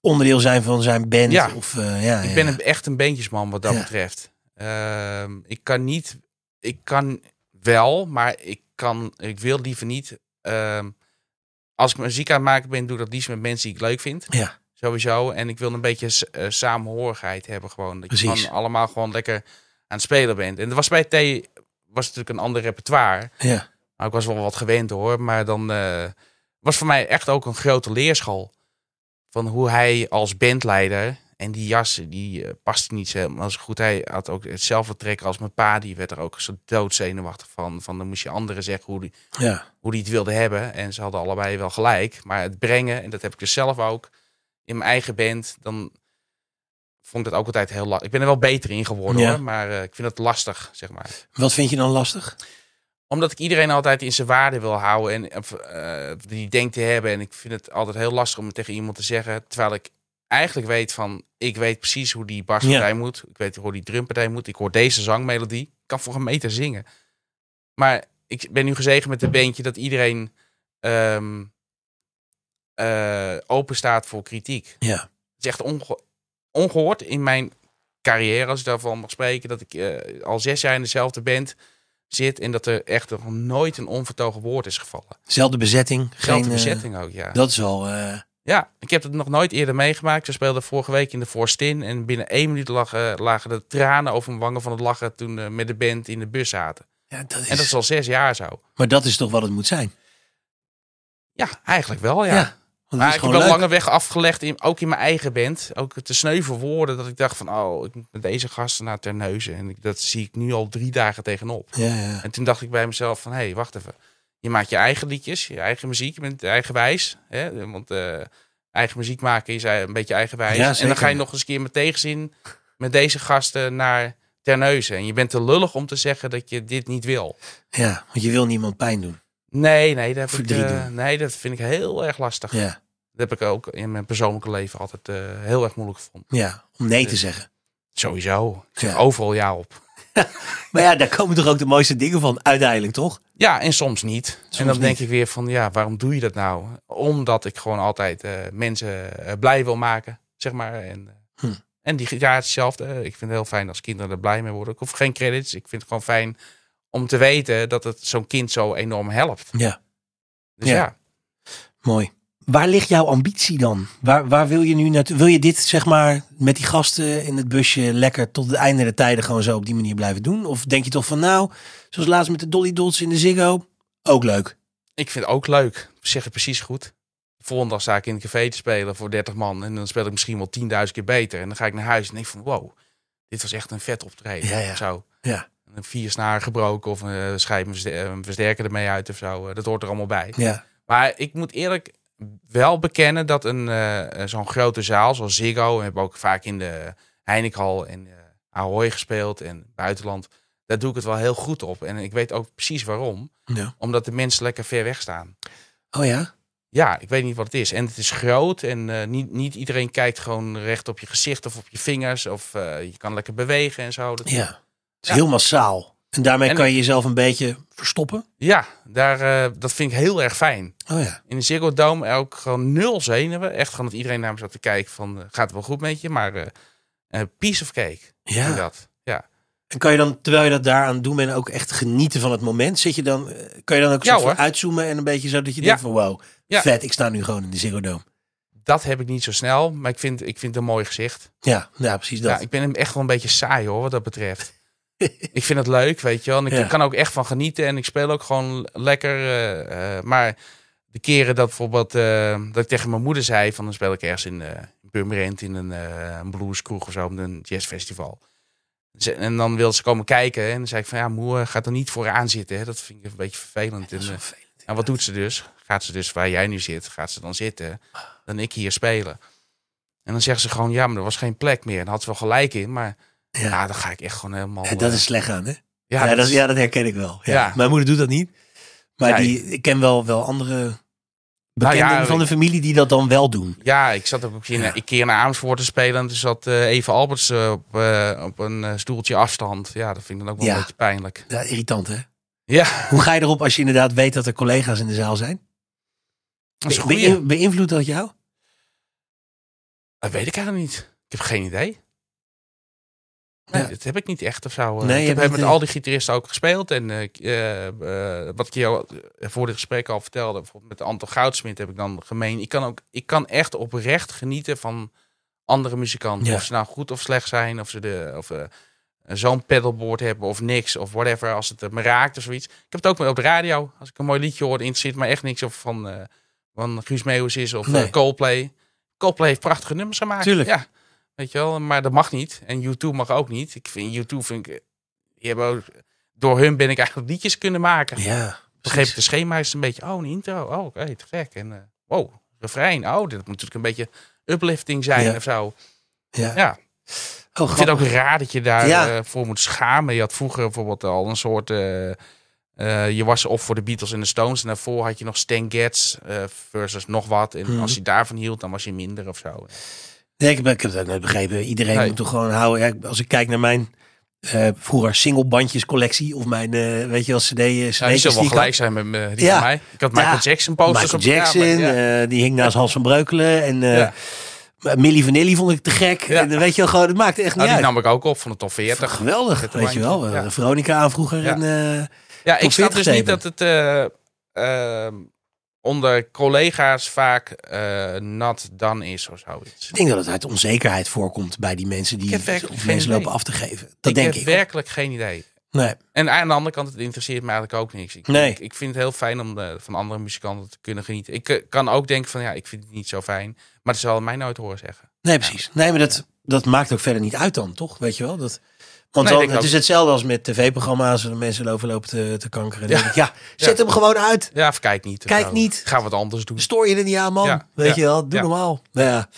onderdeel zijn van zijn band? Ja. Of, eh, ja Ik ja. ben een- echt een beentjesman wat dat Ja. betreft. Ehm, ik kan niet... Ik kan wel, maar ik, kan, ik wil liever niet... ehm, als ik muziek aan het maken ben, doe ik dat liefst met mensen die ik leuk vind. Ja. Sowieso. En ik wil een beetje s- eh, samenhorigheid hebben gewoon. Dat je Precies. gewoon allemaal gewoon lekker aan het spelen bent. En er was bij T was natuurlijk een ander repertoire. Ja. Nou, ik was wel wat gewend hoor. Maar dan eh, was voor mij echt ook een grote leerschool. Van hoe hij als bandleider. En die jas, die eh, paste niet zo helemaal zo goed. Hij had ook hetzelfde trekken als mijn pa. Die werd er ook zo doodzenuwachtig van. Van dan moest je anderen zeggen hoe die, ja. hoe die het wilde hebben. En ze hadden allebei wel gelijk. Maar het brengen, en dat heb ik dus zelf ook in mijn eigen band, dan vond ik dat ook altijd heel lastig. Ik ben er wel beter in geworden Ja. hoor, maar eh, ik vind dat lastig, zeg maar. Wat vind je dan lastig? Omdat ik iedereen altijd in zijn waarde wil houden en eh, eh, die denkt te hebben. En ik vind het altijd heel lastig om het tegen iemand te zeggen, terwijl ik eigenlijk weet van, ik weet precies hoe die baspartij moet. Ik weet hoe die drumpartij moet. Ik hoor deze zangmelodie. Ik kan voor een meter zingen. Maar ik ben nu gezegend met een beentje dat iedereen ehm, eh, open staat voor kritiek. Ja. Het is echt onge- ongehoord in mijn carrière, als ik daarvan mag spreken, dat ik eh, al zes jaar in dezelfde band zit en dat er echt nog nooit een onvertogen woord is gevallen. Zelfde bezetting. Zelfde geen, eh, bezetting ook, ja. dat is al... eh, Ja, ik heb het nog nooit eerder meegemaakt. Ze speelden vorige week in de Forstin en binnen één minuut lagen, lagen de tranen over mijn wangen van het lachen toen we met de band in de bus zaten. ja, dat is, En dat is al zes jaar zo. Maar dat is toch wat het moet zijn? Ja, eigenlijk wel, ja. Ja, want het Maar is ik heb gewoon wel leuk. lange weg afgelegd, in, ook in mijn eigen band. Ook te sneuven woorden dat ik dacht van, oh, ik moet met deze gasten naar Terneuzen. En ik- dat zie ik nu al drie dagen tegenop. Ja, ja. En toen dacht ik bij mezelf van, hé, hey, wacht even. Je maakt je eigen liedjes, je eigen muziek, je bent eigenwijs. Hè? Want eh, eigen muziek maken is een beetje eigenwijs. Ja, en zeker. dan ga je nog eens een keer met tegenzin met deze gasten naar Terneuzen. En je bent te lullig om te zeggen dat je dit niet wil. ja, want je wil niemand pijn doen. Nee, nee, dat, heb ik, Verdriet eh, doen. nee, dat vind ik heel erg lastig. Ja, Dat heb ik ook in mijn persoonlijke leven altijd eh, heel erg moeilijk gevonden. ja. om nee te zeggen. Sowieso. Ik zeg Ja. overal ja op. Maar ja, daar komen toch ook de mooiste dingen van uiteindelijk, toch? Ja, en soms niet. en dan niet. denk ik weer van, ja, waarom doe je dat nou? Omdat ik gewoon altijd eh, mensen eh, blij wil maken, zeg maar. En, eh, Hm. en die gitaar hetzelfde. Ik vind het heel fijn als kinderen er blij mee worden. Ik hoef geen credits. Ik vind het gewoon fijn om te weten dat het zo'n kind zo enorm helpt. Ja. Dus Ja. ja, Mooi. Waar ligt jouw ambitie dan? Waar, waar wil je nu naartoe? Wil je dit, zeg maar, met die gasten in het busje lekker tot het einde der tijden gewoon zo op die manier blijven doen? Of denk je toch van, nou, zoals laatst met de Dolly Dots in de Ziggo, ook leuk. ik vind het ook leuk. Ik Zeg het precies goed. Volgende dag sta ik in een café te spelen voor 30 man. En dan speel ik misschien wel 10.000 keer beter. En dan ga ik naar huis en denk van wow, dit was echt een vet optreden. Ja, ja. Zo. Ja. Een vier snaar gebroken of een schijf een verster- een versterker ermee uit of zo. Eh, Dat hoort er allemaal bij. Ja, Maar ik moet eerlijk wel bekennen dat een, eh, eh, zo'n grote zaal zoals Ziggo... We hebben ook vaak in de Heinekhal en eh Ahoy gespeeld en buitenland. Daar doe ik het wel heel goed op. En ik weet ook precies waarom. Ja. Omdat de mensen lekker ver weg staan. Oh ja? Ja, ik weet niet wat het is. En het is groot en eh, niet, niet iedereen kijkt gewoon recht op je gezicht of op je vingers. Of eh, je kan lekker bewegen en zo. Dat- Ja. Het is Ja. heel massaal. En daarmee En- kan je jezelf een beetje verstoppen. Ja, daar, eh, dat vind ik heel erg fijn. Oh ja. In de Ziggo Dome ook gewoon nul zenuwen. Echt gewoon dat iedereen naar me zat te kijken van, eh, gaat het wel goed met je? Maar eh, eh, piece of cake. vind ik Ja. Dat. ja. En kan je dan, terwijl je dat daaraan doet en ook echt genieten van het moment, zit je dan, eh, kan je dan ook Ja, zo van hoor. uitzoomen en een beetje zo dat je Ja. denkt van, wow, Ja. vet, ik sta nu gewoon in de Ziggo Dome. Dat heb ik niet zo snel, maar ik vind, ik vind het een mooi gezicht. Ja, ja, precies dat. Ja, ik ben hem echt wel een beetje saai hoor, wat dat betreft. ik vind het leuk, weet je wel. En ik Ja. kan er ook echt van genieten en ik speel ook gewoon lekker. eh, eh, maar de keren dat bijvoorbeeld eh, dat ik tegen mijn moeder zei van dan speel ik ergens in eh Purmerend in een, eh een blueskroeg of zo, op een jazzfestival. Ze- En dan wilde ze komen kijken. En dan zei ik van ja, moe eh, gaat er niet vooraan zitten. Hè? Dat vind ik een beetje vervelend. En, eh, en wat doet ze dus? Gaat ze dus waar jij nu zit, gaat ze dan zitten? Dan ik hier spelen. En dan zeggen ze gewoon, ja, maar er was geen plek meer. En had ze wel gelijk in, maar ja, Ja, dan ga ik echt gewoon helemaal... ja, dat eh, is slecht aan, hè? ja, Ja, dat dat, is- ja, dat herken ik wel. Ja. Ja. Mijn moeder doet dat niet. Maar Nee. die, ik ken wel, wel andere Nou bekenden ja, van de familie die dat dan wel doen. Ja, ik zat ook een, Ja. een keer naar Amersfoort te spelen. En toen zat eh even Alberts eh, op, eh, op een eh, stoeltje afstand. Ja, dat vind ik dan ook wel Ja. een beetje pijnlijk. Ja, irritant, hè? Ja, Hoe ga je erop als je inderdaad weet dat er collega's in de zaal zijn? dat is een Be- goeie. beïn- beïnvloedt dat jou? Dat weet ik eigenlijk niet. Ik heb geen idee. Nee, Ja. dat heb ik niet echt of zo. eh. Nee, je ik heb hebt met niet- al die gitaristen ook gespeeld. En eh, ik, eh, eh, wat ik jou voor dit gesprek al vertelde, bijvoorbeeld met Anton Goudsmit heb ik dan gemeen. Ik kan, ook, ik kan echt oprecht genieten van andere muzikanten. Ja. Of ze nou goed of slecht zijn, of ze de, of, eh, zo'n pedalboard hebben of niks, of whatever, als het eh, me raakt of zoiets. Ik heb het ook met op de radio. Als ik een mooi liedje hoor, interesseert me echt niks of van, eh, van Guus Meeuwis is of eh, Nee. Coldplay. Coldplay heeft prachtige nummers gemaakt. Tuurlijk. Ja, weet je wel, maar dat mag niet. En U2 mag ook niet. Ik vind U2, vind ik, eh, die hebben ook, door hun ben ik eigenlijk liedjes kunnen maken. Ja. Begreep ik de schema is een beetje, oh, een intro, oh, oké, te gek. En eh wow, refrein, oh, dit moet natuurlijk een beetje uplifting zijn Ja. of zo. Ja. Ja. Oh, Ik vind grappig. het ook raar dat je daar Ja. eh, voor moet schamen. Je had vroeger bijvoorbeeld al een soort... eh, eh, je was op voor de Beatles en de Stones. En daarvoor had je nog Stan Getz eh, versus nog wat. En Mhm. als je daarvan hield, dan was je minder of zo. Nee, ik, heb, ik heb dat net begrepen. Iedereen Nee. moet toch gewoon houden. Ja, ik- als ik kijk naar mijn eh, vroeger singlebandjes collectie of mijn, eh, weet je wel, cd, eh, cd Ja, die zou wel gelijk zijn met me, die Ja. van mij. Ik had Michael Ja. Jackson posters Michael op de kamer. Jackson, Ja. eh, die hing naast Hans van Breukelen. En eh Ja. Millie Vanilli vond ik te gek. Ja. En, eh, weet je wel, gewoon, het maakt echt Nou, niet die uit. nam ik ook op van de top 40. Geweldig, Zet weet hem je aan. wel. Eh, Ja. Veronica aan vroeger. Ja. En, eh, Ja, ik snap Top 40 dus niet zeven. dat het eh, ehm, onder collega's vaak eh nat dan is of zoiets. ik denk dat het uit onzekerheid voorkomt bij die mensen die Ik heb werkelijk of geen mensen idee. lopen af te geven. Dat denk heb ik. werkelijk geen idee. Nee. En aan de andere kant, het interesseert me eigenlijk ook niks. Ik, Nee. ik, ik vind het heel fijn om eh, van andere muzikanten te kunnen genieten. Ik eh, kan ook denken van, ja, ik vind het niet zo fijn. Maar het zal mij nooit horen zeggen. Nee, precies. Nee, maar dat, dat maakt ook verder niet uit dan, toch? Weet je wel? Dat, want Nee, dan, denk het ook. is hetzelfde als met tv-programma's waar mensen lopen, lopen te, te kankeren. Ja. Ja. ja, zet hem gewoon uit. Ja, of kijk niet. of Kijk zo. niet. Dus- Ga wat anders doen. Stoor je er niet aan, man. Ja, Weet ja, je wel? ja. Doe normaal. Nou ja.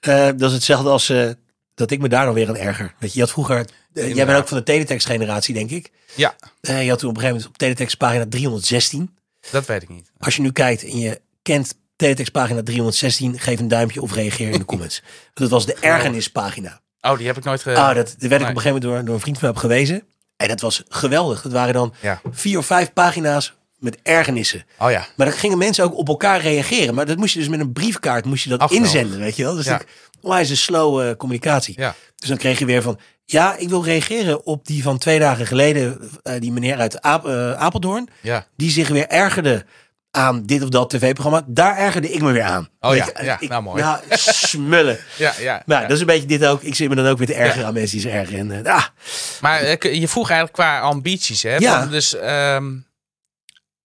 Eh, dat is hetzelfde als eh, dat ik me daar dan weer aan erger. Weet je, je had vroeger... eh, jij bent Inderdaad. ook van de teletext-generatie, denk ik. Ja, Eh, je had toen op een gegeven moment op teletext pagina 316... dat weet ik niet. Als je nu kijkt en je kent Teletext pagina 316, geef een duimpje of reageer in de comments. Want dat was de ergernispagina. Oh, die heb ik nooit ge... Ah, dat, daar werd ik nee. op een gegeven moment door, door een vriend van mij op gewezen. En dat was geweldig. Dat waren dan Ja. vier of vijf pagina's met ergernissen. Oh ja. Maar dan gingen mensen ook op elkaar reageren. Maar dat moest je dus met een briefkaart moest je dat Ach, geweldig. inzenden, weet je wel. Dus Ja. ik, onwijs een slow eh, communicatie. Ja. Dus dan kreeg je weer van, ja, ik wil reageren op die van twee dagen geleden, eh, die meneer uit Aap- eh, Apeldoorn Ja. die zich weer ergerde aan dit of dat tv-programma. Daar ergerde ik me weer aan. Oh Weet ja, je, ja, ik- nou mooi. Nou, smullen. Ja, ja. Nou, ja. dat is een beetje dit ook. Ik zit me dan ook weer te ergeren aan mensen die ze ergeren. En, eh, ah, Maar eh, k- je vroeg eigenlijk qua ambities, hè? Ja. Want Dus ehm,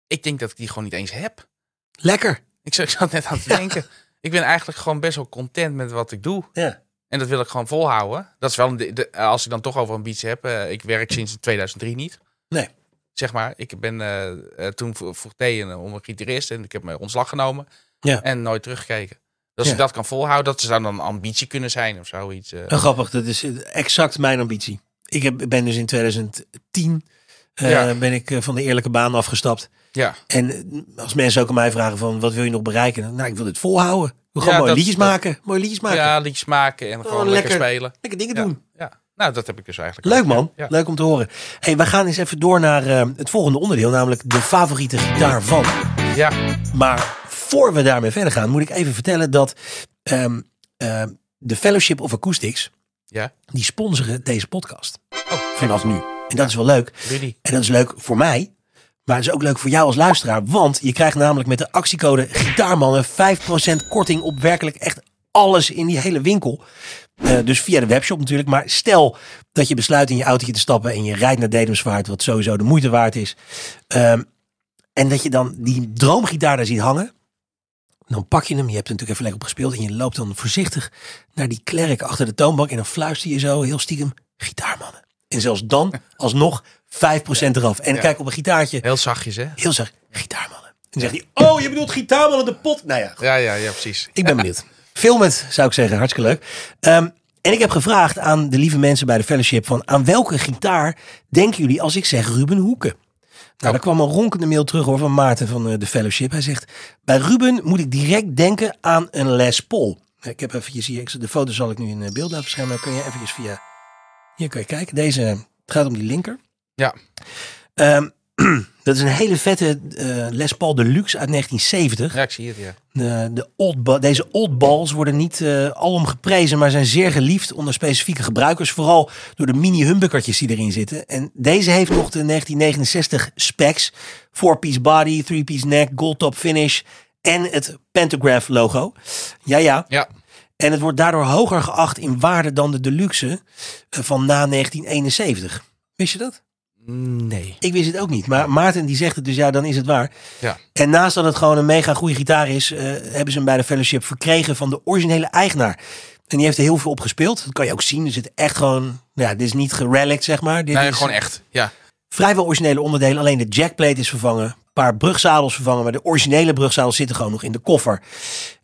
ik denk dat ik die gewoon niet eens heb. lekker. Ik zat, ik zat net aan te denken. Ik ben eigenlijk gewoon best wel content met wat ik doe. Ja. En dat wil ik gewoon volhouden. Dat is wel een, de- de- als ik dan toch over ambitie heb. eh, ik werk sinds 2003 niet. Nee. Zeg maar, ik ben eh, eh, toen vro- vroeg Thee een- eh, om een gitarist en ik heb mijn ontslag genomen. Ja. En nooit teruggekeken. Dus als Ja. ik dat kan volhouden, dat zou dan een ambitie kunnen zijn of zoiets. eh. Nou, grappig, dat is exact mijn ambitie. Ik heb, ben dus in 2010 eh, Ja. ben ik eh, van de eerlijke baan afgestapt. ja. En eh, als mensen ook aan mij vragen van wat wil je nog bereiken? Dan, Nou, ik wil dit volhouden. Ik wil gewoon Ja, mooie dat- liedjes dat- maken. Mooie liedjes maken. Oh, ja, liedjes maken en gewoon lekker, lekker. spelen. Lekker dingen Ja. doen. Ja. Nou, dat heb ik dus eigenlijk. Leuk ook, man, ja. Ja. leuk om te horen. Hey, we gaan eens even door naar eh, het volgende onderdeel, namelijk de favoriete gitaar van. Ja. Maar voor we daarmee verder gaan, moet ik even vertellen dat ehm, ehm, de Fellowship of Acoustics, Ja. die sponsoren deze podcast Oh, vanaf nu. En dat is wel leuk. Rudy. En dat is leuk voor mij, maar het is ook leuk voor jou als luisteraar. Want je krijgt namelijk met de actiecode Gitaarmannen 5% korting op werkelijk echt alles in die hele winkel. Eh, dus via de webshop natuurlijk. Maar stel dat je besluit in je autootje te stappen en je rijdt naar Dedemsvaart, wat sowieso de moeite waard is. Ehm, en dat je dan die droomgitaar daar ziet hangen. Dan pak je hem, je hebt er natuurlijk even lekker op gespeeld. En je loopt dan voorzichtig naar die klerk achter de toonbank. En dan fluister je zo heel stiekem. gitaarmannen. En zelfs dan alsnog 5% eraf. En kijk op een gitaartje, Heel zachtjes, hè? heel zacht, gitaarmannen. En dan zegt hij, oh, je bedoelt gitaarmannen de pot. Nou ja, Ja, ja, ja, precies. ik ben benieuwd. Film het, zou ik zeggen. Hartstikke leuk. Ehm, en ik heb gevraagd aan de lieve mensen bij de fellowship van aan welke gitaar denken jullie als ik zeg Ruben Hoeken? Nou, er kwam een ronkende mail terug hoor van Maarten van eh, de fellowship. Hij zegt, bij Ruben moet ik direct denken aan een Les Paul. Nou, Ik heb eventjes hier, ik- de foto zal ik nu in eh, beeld laten verschijnen. Dan kun je eventjes via, hier kun je kijken. Deze, eh, het gaat om die linker. Ja. Ehm, dat is een hele vette eh, Les Paul Deluxe uit 1970. Ja, ik zie het, ja. De, de old ba- deze old balls worden niet eh alom geprezen, maar zijn zeer geliefd onder specifieke gebruikers. Vooral door de mini-humbuckertjes die erin zitten. En deze heeft nog de 1969 specs. 4-piece body, 3-piece neck, gold top finish en het pantograph logo. Ja, ja. Ja, En het wordt daardoor hoger geacht in waarde dan de deluxe eh, van na 1971. Wist je dat? nee. Ik wist het ook niet. Maar Maarten die zegt het, dus ja, dan is het waar. Ja. En naast dat het gewoon een mega goede gitaar is, eh, hebben ze hem bij de fellowship verkregen van de originele eigenaar. En die heeft er heel veel op gespeeld. Dat kan je ook zien. Er zit echt gewoon. nou Ja, dit is niet gerelict, zeg maar. Dit Nee, is gewoon echt. Ja. vrijwel originele onderdelen. Alleen de jackplate is vervangen. Een paar brugzadels vervangen. Maar de originele brugzadels zitten gewoon nog in de koffer.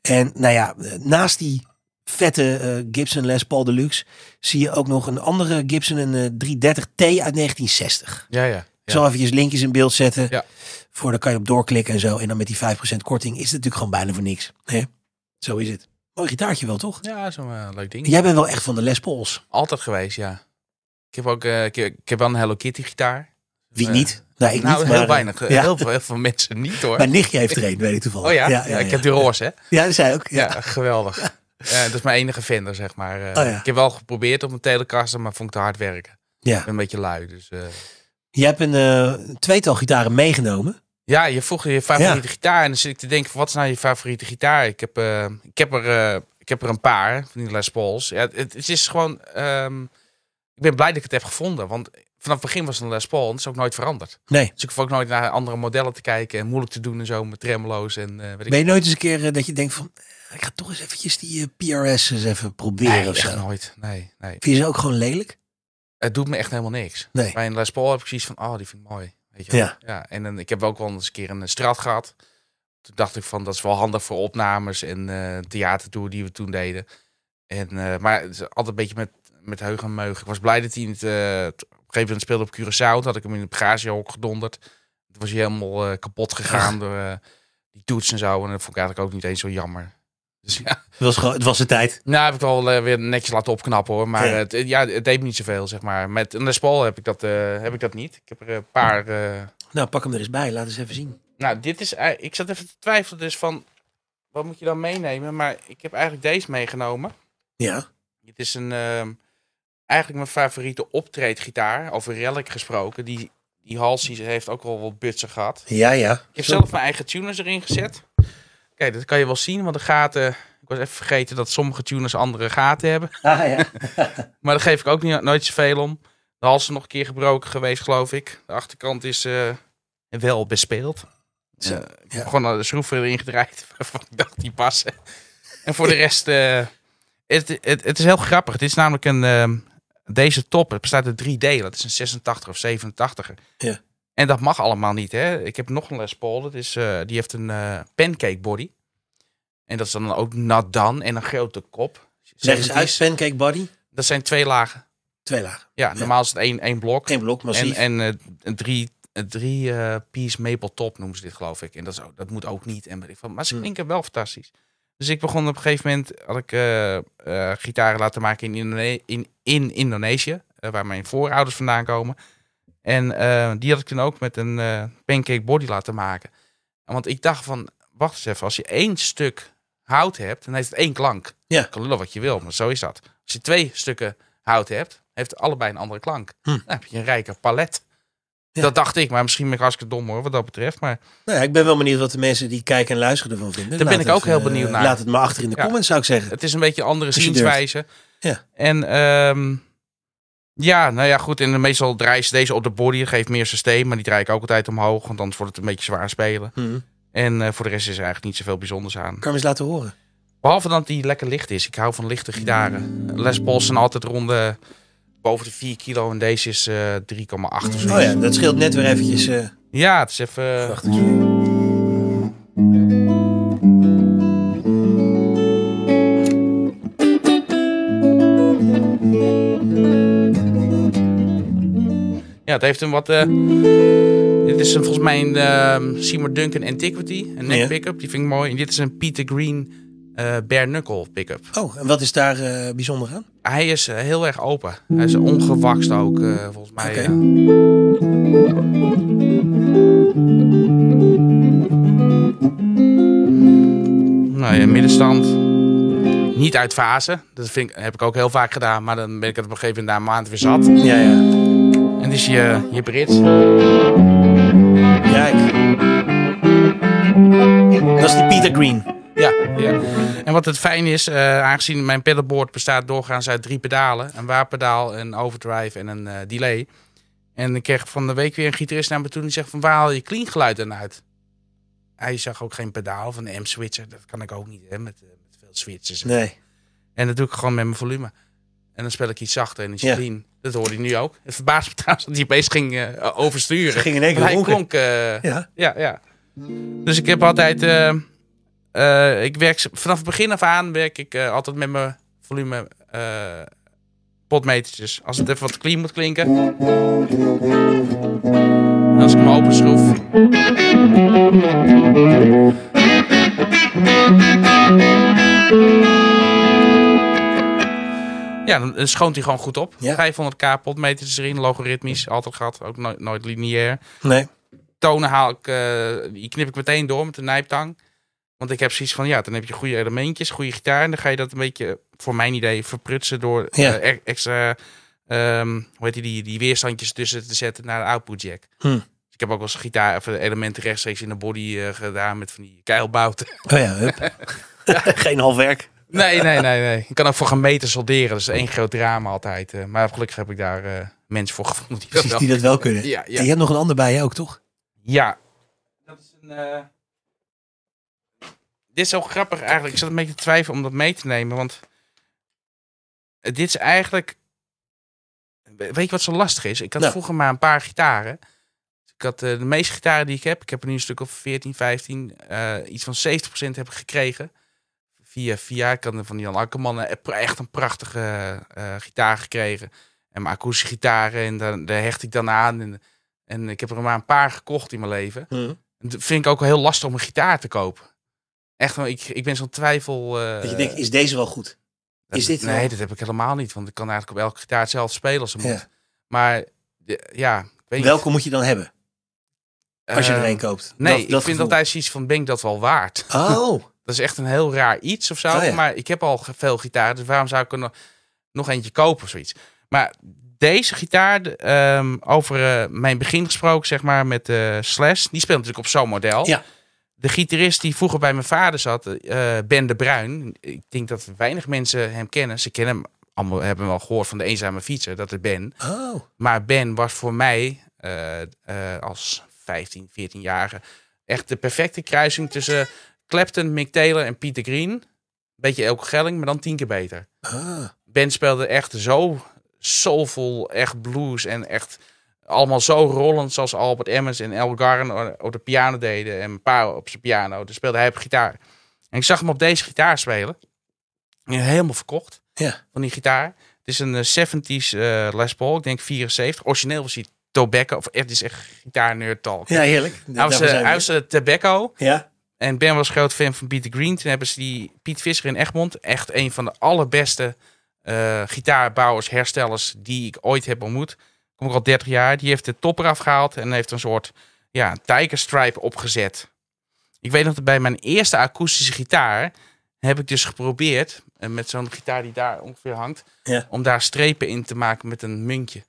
En nou ja, eh, naast die vette eh, Gibson Les Paul Deluxe zie je ook nog een andere Gibson, een eh, 330T uit 1960. Ja, ja. Ik ja. zal eventjes linkjes in beeld zetten. Ja. Voor dan kan je op doorklikken en zo. En dan met die 5% korting is het natuurlijk gewoon bijna voor niks. Hè? Zo is het. Mooi gitaartje wel, toch? Ja, zo'n eh, leuk ding. Jij bent wel echt van de Les Pauls. Altijd geweest, ja. Ik heb ook eh, ik, ik heb wel een Hello Kitty gitaar. Wie Eh, niet? Nou, ik nou, niet. heel maar, eh, weinig. eh, ja. Heel, veel, heel veel mensen niet hoor. Mijn nichtje heeft er een, weet ik toevallig. Oh ja? Ja, ja, ik heb die roze, hè? Ja, dat zei ook. Ja. Ja, geweldig. Eh, dat is mijn enige vinder, zeg maar. Eh, Oh ja. Ik heb wel geprobeerd op een telecaster, maar vond ik te hard werken. Ik ja. ben een beetje lui, dus... eh. Je hebt een eh, tweetal gitaren meegenomen. Ja, je vroeg je favoriete gitaar. En dan zit ik te denken, van, wat is nou je favoriete gitaar? Ik heb, eh, ik heb, er, eh, ik heb er een paar, van die Les Pauls. Ja, het, het is gewoon... ehm, ik ben blij dat ik het heb gevonden. Want vanaf het begin was het een Les Paul en het is ook nooit veranderd. Nee. Dus ik hoef ook nooit naar andere modellen te kijken. En moeilijk te doen en zo, met tremolo's en eh, weet ik Ben je nooit eens een keer eh, dat je denkt van... eh, Ik ga toch eens eventjes die eh, PRS eens even proberen Nee, of echt zo. nooit. Nee, nee. Vind je ze ook gewoon lelijk? Het doet me echt helemaal niks. Nee. Bij een Les Paul heb ik zoiets van, oh, die vind ik mooi. Weet je wel. Ja. ja. En dan, ik heb ook wel eens een keer een eh, straat gehad. Toen dacht ik van, dat is wel handig voor opnames en eh theatertour die we toen deden. En, eh, maar het is altijd een beetje met, met heug en meug. Ik was blij dat hij niet... eh, t- op een gegeven moment speelde op Curaçao. Toen had ik hem in het bagagehok gedonderd. Toen was hij helemaal eh, kapot gegaan door eh, die toets en zo. En dat vond ik eigenlijk ook niet eens zo jammer. Dus ja... Het was, gewoon, het was de tijd. Nou, heb ik wel eh, weer netjes laten opknappen hoor. Maar Ja. eh, het, ja, het deed me niet zoveel, zeg maar. Met een Les Paul heb ik dat, eh, heb ik dat niet. Ik heb er een paar. eh, Nou, pak hem er eens bij. Laat eens even zien. Nou, dit is. eh, ik zat even te twijfelen, dus van. Wat moet je dan meenemen? Maar ik heb eigenlijk deze meegenomen. Ja. Het is een. ehm, eigenlijk mijn favoriete optreedgitaar. Over relic gesproken. Die, die hals die heeft ook wel wat butsen gehad. Ja, ja. Ik heb zelf mijn eigen tuners erin gezet. Kijk, dat kan je wel zien, want de gaten. Ik was even vergeten dat sommige tuners andere gaten hebben. Ah, ja. Maar daar geef ik ook niet, nooit zoveel om. De hals is nog een keer gebroken geweest, geloof ik. De achterkant is eh, wel bespeeld. Zo, Eh, ik ja. heb gewoon eh, de schroeven erin gedraaid waarvan ik dacht die passen. En voor de rest, eh, het, het, het is heel grappig. Het is namelijk een, ehm, deze top, het bestaat uit drie delen. Het is een 86 of 87 Ja. En dat mag allemaal niet. Hè? Ik heb nog een Les Paul, dat is, eh, die heeft een eh, pancake body. En dat is dan ook nat dan en een grote kop. Zeg eens uit, pancake body. Dat zijn twee lagen. Twee lagen. Ja, normaal is het één, één blok. Geen blok, en massief. en eh, een drie, een drie eh, piece maple top noemen ze dit, geloof ik. En dat, is, ook- dat moet ook niet. En weet ik van, maar ze Hmm. klinken wel fantastisch. Dus ik begon op een gegeven moment, had ik eh, eh, gitaren laten maken in, Indone- in, in Indonesië, eh, waar mijn voorouders vandaan komen. En eh, die had ik toen ook met een eh, pancake body laten maken. Want ik dacht van, wacht eens even, als je één stuk hout hebt, dan heeft het één klank. Ja. Je kan lullen wat je wil, maar zo is dat. Als je twee stukken hout hebt, heeft het allebei een andere klank. Hm. Dan heb je een rijker palet. Ja. Dat dacht ik, maar misschien ben ik hartstikke dom hoor, wat dat betreft. Maar Nou, ja, ik ben wel benieuwd wat de mensen die kijken en luisteren ervan vinden. Daar ben Laat ik ook even, heel eh, benieuwd naar. Laat het maar achter in de Ja. comments, zou ik zeggen. het is een beetje een andere Als je zienswijze. Ja. En ehm, ja, nou ja, goed. En meestal draai je deze op de body. Dat geeft meer systeem, maar die draai ik ook altijd omhoog. Want anders wordt het een beetje zwaar spelen. Hm. En eh, voor de rest is er eigenlijk niet zoveel bijzonders aan. Kan je eens laten horen. Behalve dat die lekker licht is. Ik hou van lichte gitaren. Les Pauls zijn altijd ronde boven de 4 kilo en deze is eh 3,8 of zo. Oh ja, dat scheelt net weer eventjes. eh Ja, het is even... wacht eens. Ja, het heeft een wat. eh, dit is een, volgens mij een ehm, Seymour Duncan Antiquity, een neck Ja. pickup. Die vind ik mooi. En dit is een Peter Green eh bare knuckle pickup. Oh, en wat is daar eh, bijzonder aan? Hij is eh, heel erg open. Hij is ongewakst ook, eh, volgens mij. Oké. ja. Nou ja, middenstand. Niet uit fase. Dat vind ik, heb ik ook heel vaak gedaan. Maar dan ben ik het op een gegeven moment na een maand weer zat. Ja, ja. En dus je, je Brits. Ja, ik... Dat is die Peter Green. Ja, ja. En wat het fijn is, eh, aangezien mijn pedalboard bestaat doorgaans uit drie pedalen. Een waarpedaal, een overdrive en een eh, delay. En ik kreeg van de week weer een gitarist naar me toe en die zegt van waar haal je clean geluid dan uit? Hij zag ook geen pedaal van de M-switcher. Dat kan ik ook niet hè, met, eh, met veel switches. Nee. En dat doe ik gewoon met mijn volume. En dan speel ik iets zachter en is Ja. clean. Dat hoorde hij nu ook. Het verbaast me trouwens dat hij opeens ging eh, oversturen. Ging in één keer Want hij ronken. klonk... eh, Ja. ja, ja. Dus ik heb altijd. eh, eh, ik werk s- vanaf het begin af aan werk ik eh, altijd met mijn volume eh potmetertjes. Als het even wat clean moet klinken. En als ik hem open schroef. Ja, dan dan schoont hij gewoon goed op. Ja. 500k potmeters erin, logaritmisch, altijd gehad, ook nooit, nooit lineair Nee. tonen haal ik, eh, die knip ik meteen door met de nijptang. Want ik heb zoiets van, ja, dan heb je goede elementjes, goede gitaar. En dan ga je dat een beetje, voor mijn idee, verprutsen door eh, Ja. e- extra, ehm, hoe heet die, die, die weerstandjes tussen te zetten naar de output jack. Hm. Dus ik heb ook wel eens gitaar, even elementen rechtstreeks in de body eh, gedaan met van die keilbouten. Oh ja, hup. Geen half werk. nee, nee, nee, nee. Ik kan ook voor gaan meten solderen. Dat is één groot drama altijd. eh. maar gelukkig heb ik daar eh, mensen voor gevonden die dat Precies, wel die dat wel kunnen. Ja, ja. En je hebt nog een ander bij je ook, toch? Ja. Dat is een. eh, Dit is zo grappig eigenlijk. Ik zat een beetje te twijfelen om dat mee te nemen. Want eh, dit is eigenlijk. We- Weet je wat zo lastig is? Ik had Nou. vroeger maar een paar gitaren. Ik had eh, de meeste gitaren die ik heb. Ik heb er nu een stuk of 14, 15. eh, iets van 70% heb ik gekregen. Via, via. Ik had van Jan Akkerman eh, pr- echt een prachtige eh, gitaar gekregen. En mijn akoestische gitaren. En daar, daar hecht ik dan aan. En, en ik heb er maar een paar gekocht in mijn leven. Dat vind ik ook heel lastig om een gitaar te kopen. Echt, wel, ik, ik ben zo'n twijfel. eh, Dat je denkt, is deze wel goed? dat- is dit Nee, wel- dat heb ik helemaal niet. Want ik kan eigenlijk op elke gitaar hetzelfde spelen als ze moet. Ja. Maar de- ja, ik weet niet. Welke moet je dan hebben als je Eh, er een koopt? Nee, Dat- ik dat vind gevoel. altijd zoiets van, ben ik dat wel waard? Oh, Dat is echt een heel raar iets of zo. Oh ja. Maar ik heb al ge- veel gitaren, dus waarom zou ik er nog, nog eentje kopen of zoiets? Maar deze gitaar, de, ehm, over eh, mijn begin gesproken, zeg maar, met eh Slash. Die speelt natuurlijk op zo'n model. Ja. De gitarist die vroeger bij mijn vader zat, eh, Ben de Bruin. Ik denk dat weinig mensen hem kennen. Ze kennen hem, allemaal hebben hem al gehoord van de eenzame fietser, dat is Ben. oh. Maar Ben was voor mij eh, eh, als 15, 14-jarige echt de perfecte kruising tussen Clapton, Mick Taylor en Peter Green. Beetje Elke Gelling, maar dan tien keer beter. Ah. Ben speelde echt zo soulful, echt blues en echt allemaal zo rollend zoals Albert Emmons en El Garn op de piano deden en mijn pa op zijn piano. Dus speelde hij op gitaar. En ik zag hem op deze gitaar spelen. En helemaal verkocht Ja, van die gitaar. Het is een eh, 70s eh, Les Paul, ik denk 74. Origineel was hij Tobacco, of echt, dit is echt gitaarnerd talk. ja heerlijk. hij was, Daarvoor eh, zijn we. hij was eh, Tobacco Ja, en Ben was groot fan van Peter Green. Toen hebben ze die Piet Visser in Egmond, echt een van de allerbeste eh, gitaarbouwers, herstellers die ik ooit heb ontmoet. Kom ik al 30 jaar. Die heeft de topper afgehaald en heeft een soort ja, tiger stripe opgezet. Ik weet nog dat bij mijn eerste akoestische gitaar heb ik dus geprobeerd, eh, met zo'n gitaar die daar ongeveer hangt, Ja. om daar strepen in te maken met een muntje.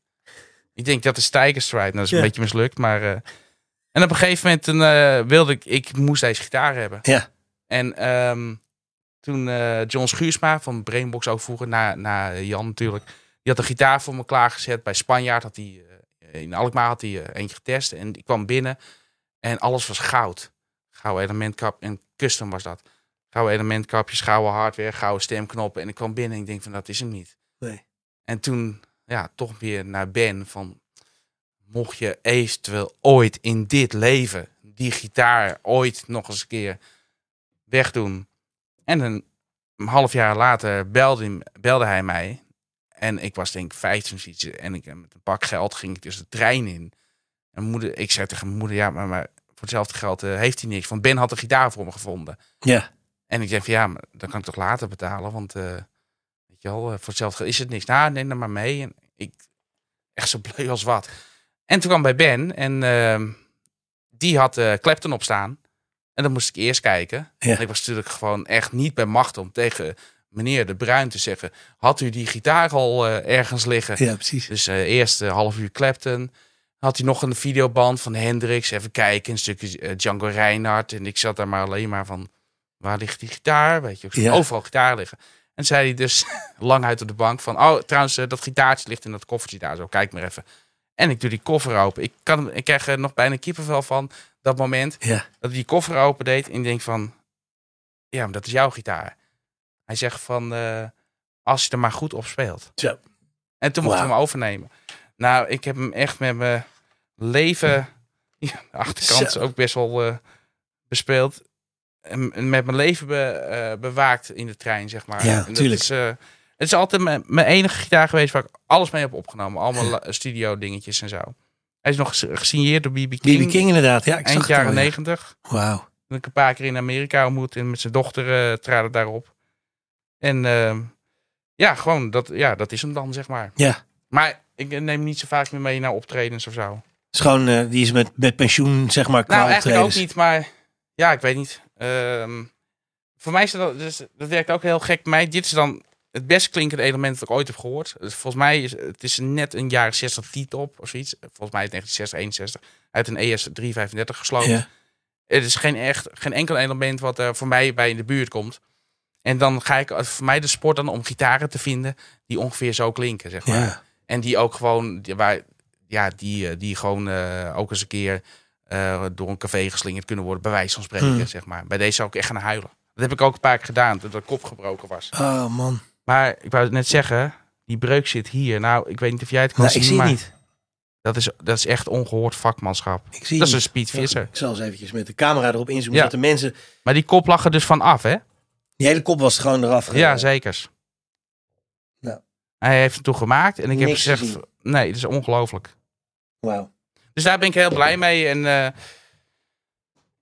Ik denk dat is tiger stripe. Nou, dat is Ja. een beetje mislukt, maar... eh, en op een gegeven moment een, eh, wilde ik, ik moest deze gitaar hebben. ja. En ehm, toen eh, John Schuursma van Brainbox ook vroeger, na, na Jan natuurlijk, die had een gitaar voor me klaargezet. Bij Spanjaard had hij, eh, in Alkmaar had hij eh, eentje getest. En ik kwam binnen en alles was goud. Gouden elementkap en custom was dat. Gouden elementkapjes, gouden hardware, gouden stemknoppen. En ik kwam binnen en ik denk van dat is hem niet. Nee. En toen ja, toch weer naar Ben van... Mocht je eventueel ooit in dit leven die gitaar ooit nog eens een keer wegdoen. En een half jaar later belde, hem- belde hij mij. En ik was denk ik 15 of iets. En ik, eh, met een pak geld ging ik dus de trein in. En mijn moeder, ik zei tegen mijn moeder, ja, maar, maar voor hetzelfde geld eh, heeft hij niks. Want Ben had een gitaar voor me gevonden. Ja. En ik denk van ja, maar dan kan ik toch later betalen, want eh, weet je wel, eh, voor hetzelfde geld is het niks. Nou, neem dan maar mee. En ik echt zo bleu als wat. En toen kwam bij Ben en ehm, die had eh Clapton op staan. En dan moest ik eerst kijken. Ja. En ik was natuurlijk gewoon echt niet bij macht om tegen meneer De Bruin te zeggen: had u die gitaar al eh, ergens liggen? Ja, precies. Dus eh eerst eh, half uur Clapton. Had hij nog een videoband van Hendrix. Even kijken, een stukje eh, Django Reinhardt. En ik zat daar maar alleen maar van... Waar ligt die gitaar? Weet je, ik zag Ja. overal gitaar liggen. En zei hij dus lang uit op de bank van... Oh, trouwens, eh, dat gitaartje ligt in dat koffertje daar zo. Kijk maar even. En ik doe die koffer open. Ik, kan, hem- ik krijg er nog bijna kippenvel van dat moment. Ja. Dat hij die koffer open deed. En ik denk van... Ja, maar dat is jouw gitaar. Hij zegt van... eh, als je er maar goed op speelt. Zo. En toen mocht ik Wauw. hem overnemen. Nou, ik heb hem echt met mijn leven. Ja, de achterkant is Zo. ook best wel eh, bespeeld. En en met mijn leven be- eh, bewaakt in de trein, zeg maar. Ja, En dat tuurlijk. Is, eh, het is altijd mijn, mijn enige gitaar geweest waar ik alles mee heb opgenomen. Allemaal studio dingetjes en zo. Hij is nog ges- gesigneerd door BB King. BB King inderdaad. Ja, ik zag Eind het al, jaren ja. negentig. Wauw. Dat ik een paar keer in Amerika ontmoet en met zijn dochter eh traden daarop. En ehm, ja, gewoon, dat, ja, dat is hem dan, zeg maar. Ja. Maar ik neem hem niet zo vaak meer mee naar optredens of zo. Nou, Het is gewoon, eh, die is met, met pensioen, zeg maar, qua eigenlijk ook optredens. niet, maar ja, ik weet niet. Ehm, voor mij is dat, dus, dat werkt ook heel gek. Mij, dit is dan het best klinkende element dat ik ooit heb gehoord. Dus volgens mij is het is net een jaren 60 T-top of zoiets. Volgens mij uit 1961 uit een E ES 335 gesloten. Ja. Het is geen, echt, geen enkel element wat er voor mij bij in de buurt komt. En dan ga ik eh, voor mij de sport dan om gitaren te vinden die ongeveer zo klinken, zeg maar. Ja. En die ook gewoon, die- waar, ja, die, eh, die gewoon eh, ook eens een keer eh, door een café geslingerd kunnen worden, bij wijze van spreken, Hmm. zeg maar. Bij deze zou ik echt gaan huilen. Dat heb ik ook een paar keer gedaan, toen de kop gebroken was. Oh man. Maar ik wou het net zeggen, die breuk zit hier. Nou, ik weet niet of jij het kan Nou, ik zien, zie het maar niet. Dat, is, dat is echt ongehoord vakmanschap. Ik zie Dat is het een niet. Speed Visser. Ik zal eens eventjes met de camera erop inzoomen, Ja. zodat de mensen... Maar die kop lag er dus van af, hè? Die hele kop was gewoon eraf ge- Ja, zeker. Nou. Hij heeft het toen gemaakt en ik heb Niks gezegd, gezien. nee, dat is ongelooflijk. Wauw. Dus daar ben ik heel blij mee. En eh,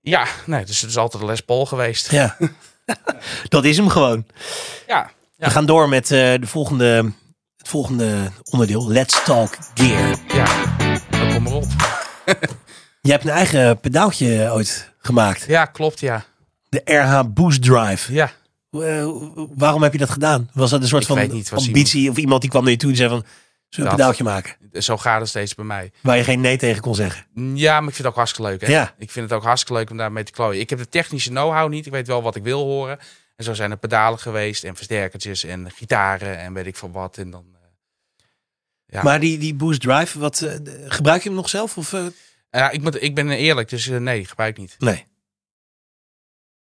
ja, nee, dus het is altijd Les Paul geweest. Ja. dat is hem gewoon. Ja, We gaan door met eh, de volgende, het volgende onderdeel. Let's Talk Gear. ja. Dat komt erop. Je hebt een eigen pedaaltje eh, ooit gemaakt. Ja, klopt, ja. De RH Boost Drive. Ja, Eh, waarom heb je dat gedaan? Was dat een soort Ik van weet niet, was ambitie? Of iemand die kwam naar je toe en zei van... Zullen we een Dat. pedaaltje maken? zo gaat het steeds bij mij. Waar je geen nee tegen kon zeggen. Ja, maar ik vind het ook hartstikke leuk. Hè? Ja. Ik vind het ook hartstikke leuk om daarmee te klooien. Ik heb de technische know-how niet. Ik weet wel wat ik wil horen. En zo zijn er pedalen geweest en versterkertjes en gitaren en weet ik van wat. En dan, eh, Ja. Maar die, die Boost Drive, wat, eh, de- gebruik je hem nog zelf? Of, eh, ja, ik, moet, ik ben eerlijk, dus eh, nee, gebruik niet. nee.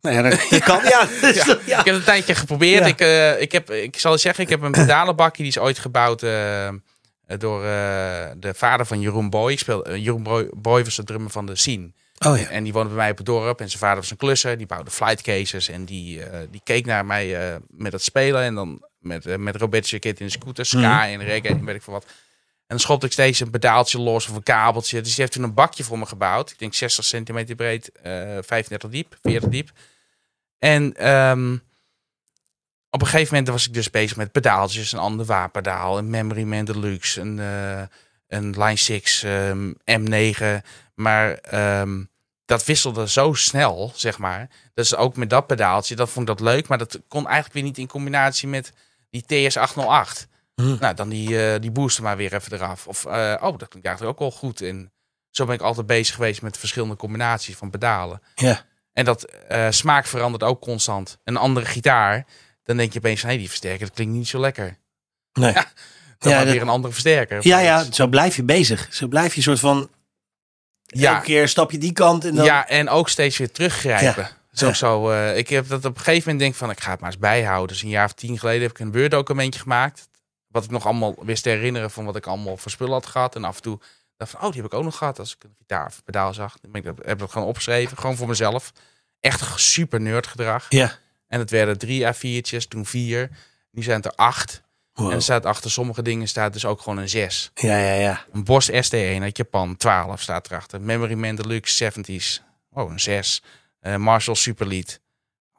Nou ja, dat, dat kan. Ja, Dus Ja. dat- ja. Ik heb het een tijdje geprobeerd. Ja. Ik, eh, ik, heb, ik zal je zeggen, ik heb een pedalenbakje. Die is ooit gebouwd eh, eh, door eh, de vader van Jeroen Boy. Ik speel, eh, Jeroen Boy, Boy was de drummer van de Scene. Oh ja. En die woonde bij mij op het dorp. En zijn vader was een klusser. Die bouwde flightcases. En die, eh, die keek naar mij eh, met dat spelen. En dan met, eh, met Robert Jacket in de scooter. Ska en reggae en weet ik veel wat. En dan schopte ik steeds een pedaaltje los of een kabeltje. Dus die heeft toen een bakje voor me gebouwd. Ik denk 60 centimeter breed, eh 35 diep, 40 diep. En ehm, op een gegeven moment was ik dus bezig met pedaaltjes. Een ander wapendaal, een Memory Man Deluxe, een, eh, een Line 6, ehm, M9. Maar ehm, dat wisselde zo snel, zeg maar. Dus ook met dat pedaaltje, dat vond ik dat leuk. Maar dat kon eigenlijk weer niet in combinatie met die TS808. Hm. Nou, dan die, eh, die booster maar weer even eraf. Of, eh, oh, dat klinkt eigenlijk ook wel goed. En zo ben ik altijd bezig geweest met verschillende combinaties van pedalen. Ja. En dat eh, smaak verandert ook constant. Een andere gitaar, dan denk je opeens... hé, die versterker, dat klinkt niet zo lekker. Ja, Dan Nee. Ja, maar dat- weer een andere versterker. of Ja, ja, iets. zo blijf je bezig. Zo blijf je soort van... Ja. Elke keer stap je die kant en dan... Ja, en ook steeds weer teruggrijpen. Ja. Zo, Ja. zo, eh, ik heb dat op een gegeven moment denk ik van, ik ga het maar eens bijhouden. Dus een jaar of tien geleden heb ik een Word-documentje gemaakt Wat ik nog allemaal wist te herinneren van wat ik allemaal voor spullen had gehad. En af en toe dacht van, oh, die heb ik ook nog gehad. Als ik een gitaar of pedaal zag. Dan ben ik, dat- heb ik dat gewoon opgeschreven, gewoon voor mezelf. Echt super nerd gedrag. Ja. En het werden drie A4'tjes, toen vier. Nu zijn het er acht. Wow. En er staat achter sommige dingen staat dus ook gewoon een zes. Ja, ja, ja. Een Bosch ST1 uit Japan, 12 staat erachter. Memory Man Deluxe 70s. Oh, een 6. Eh, Marshall Super Lead.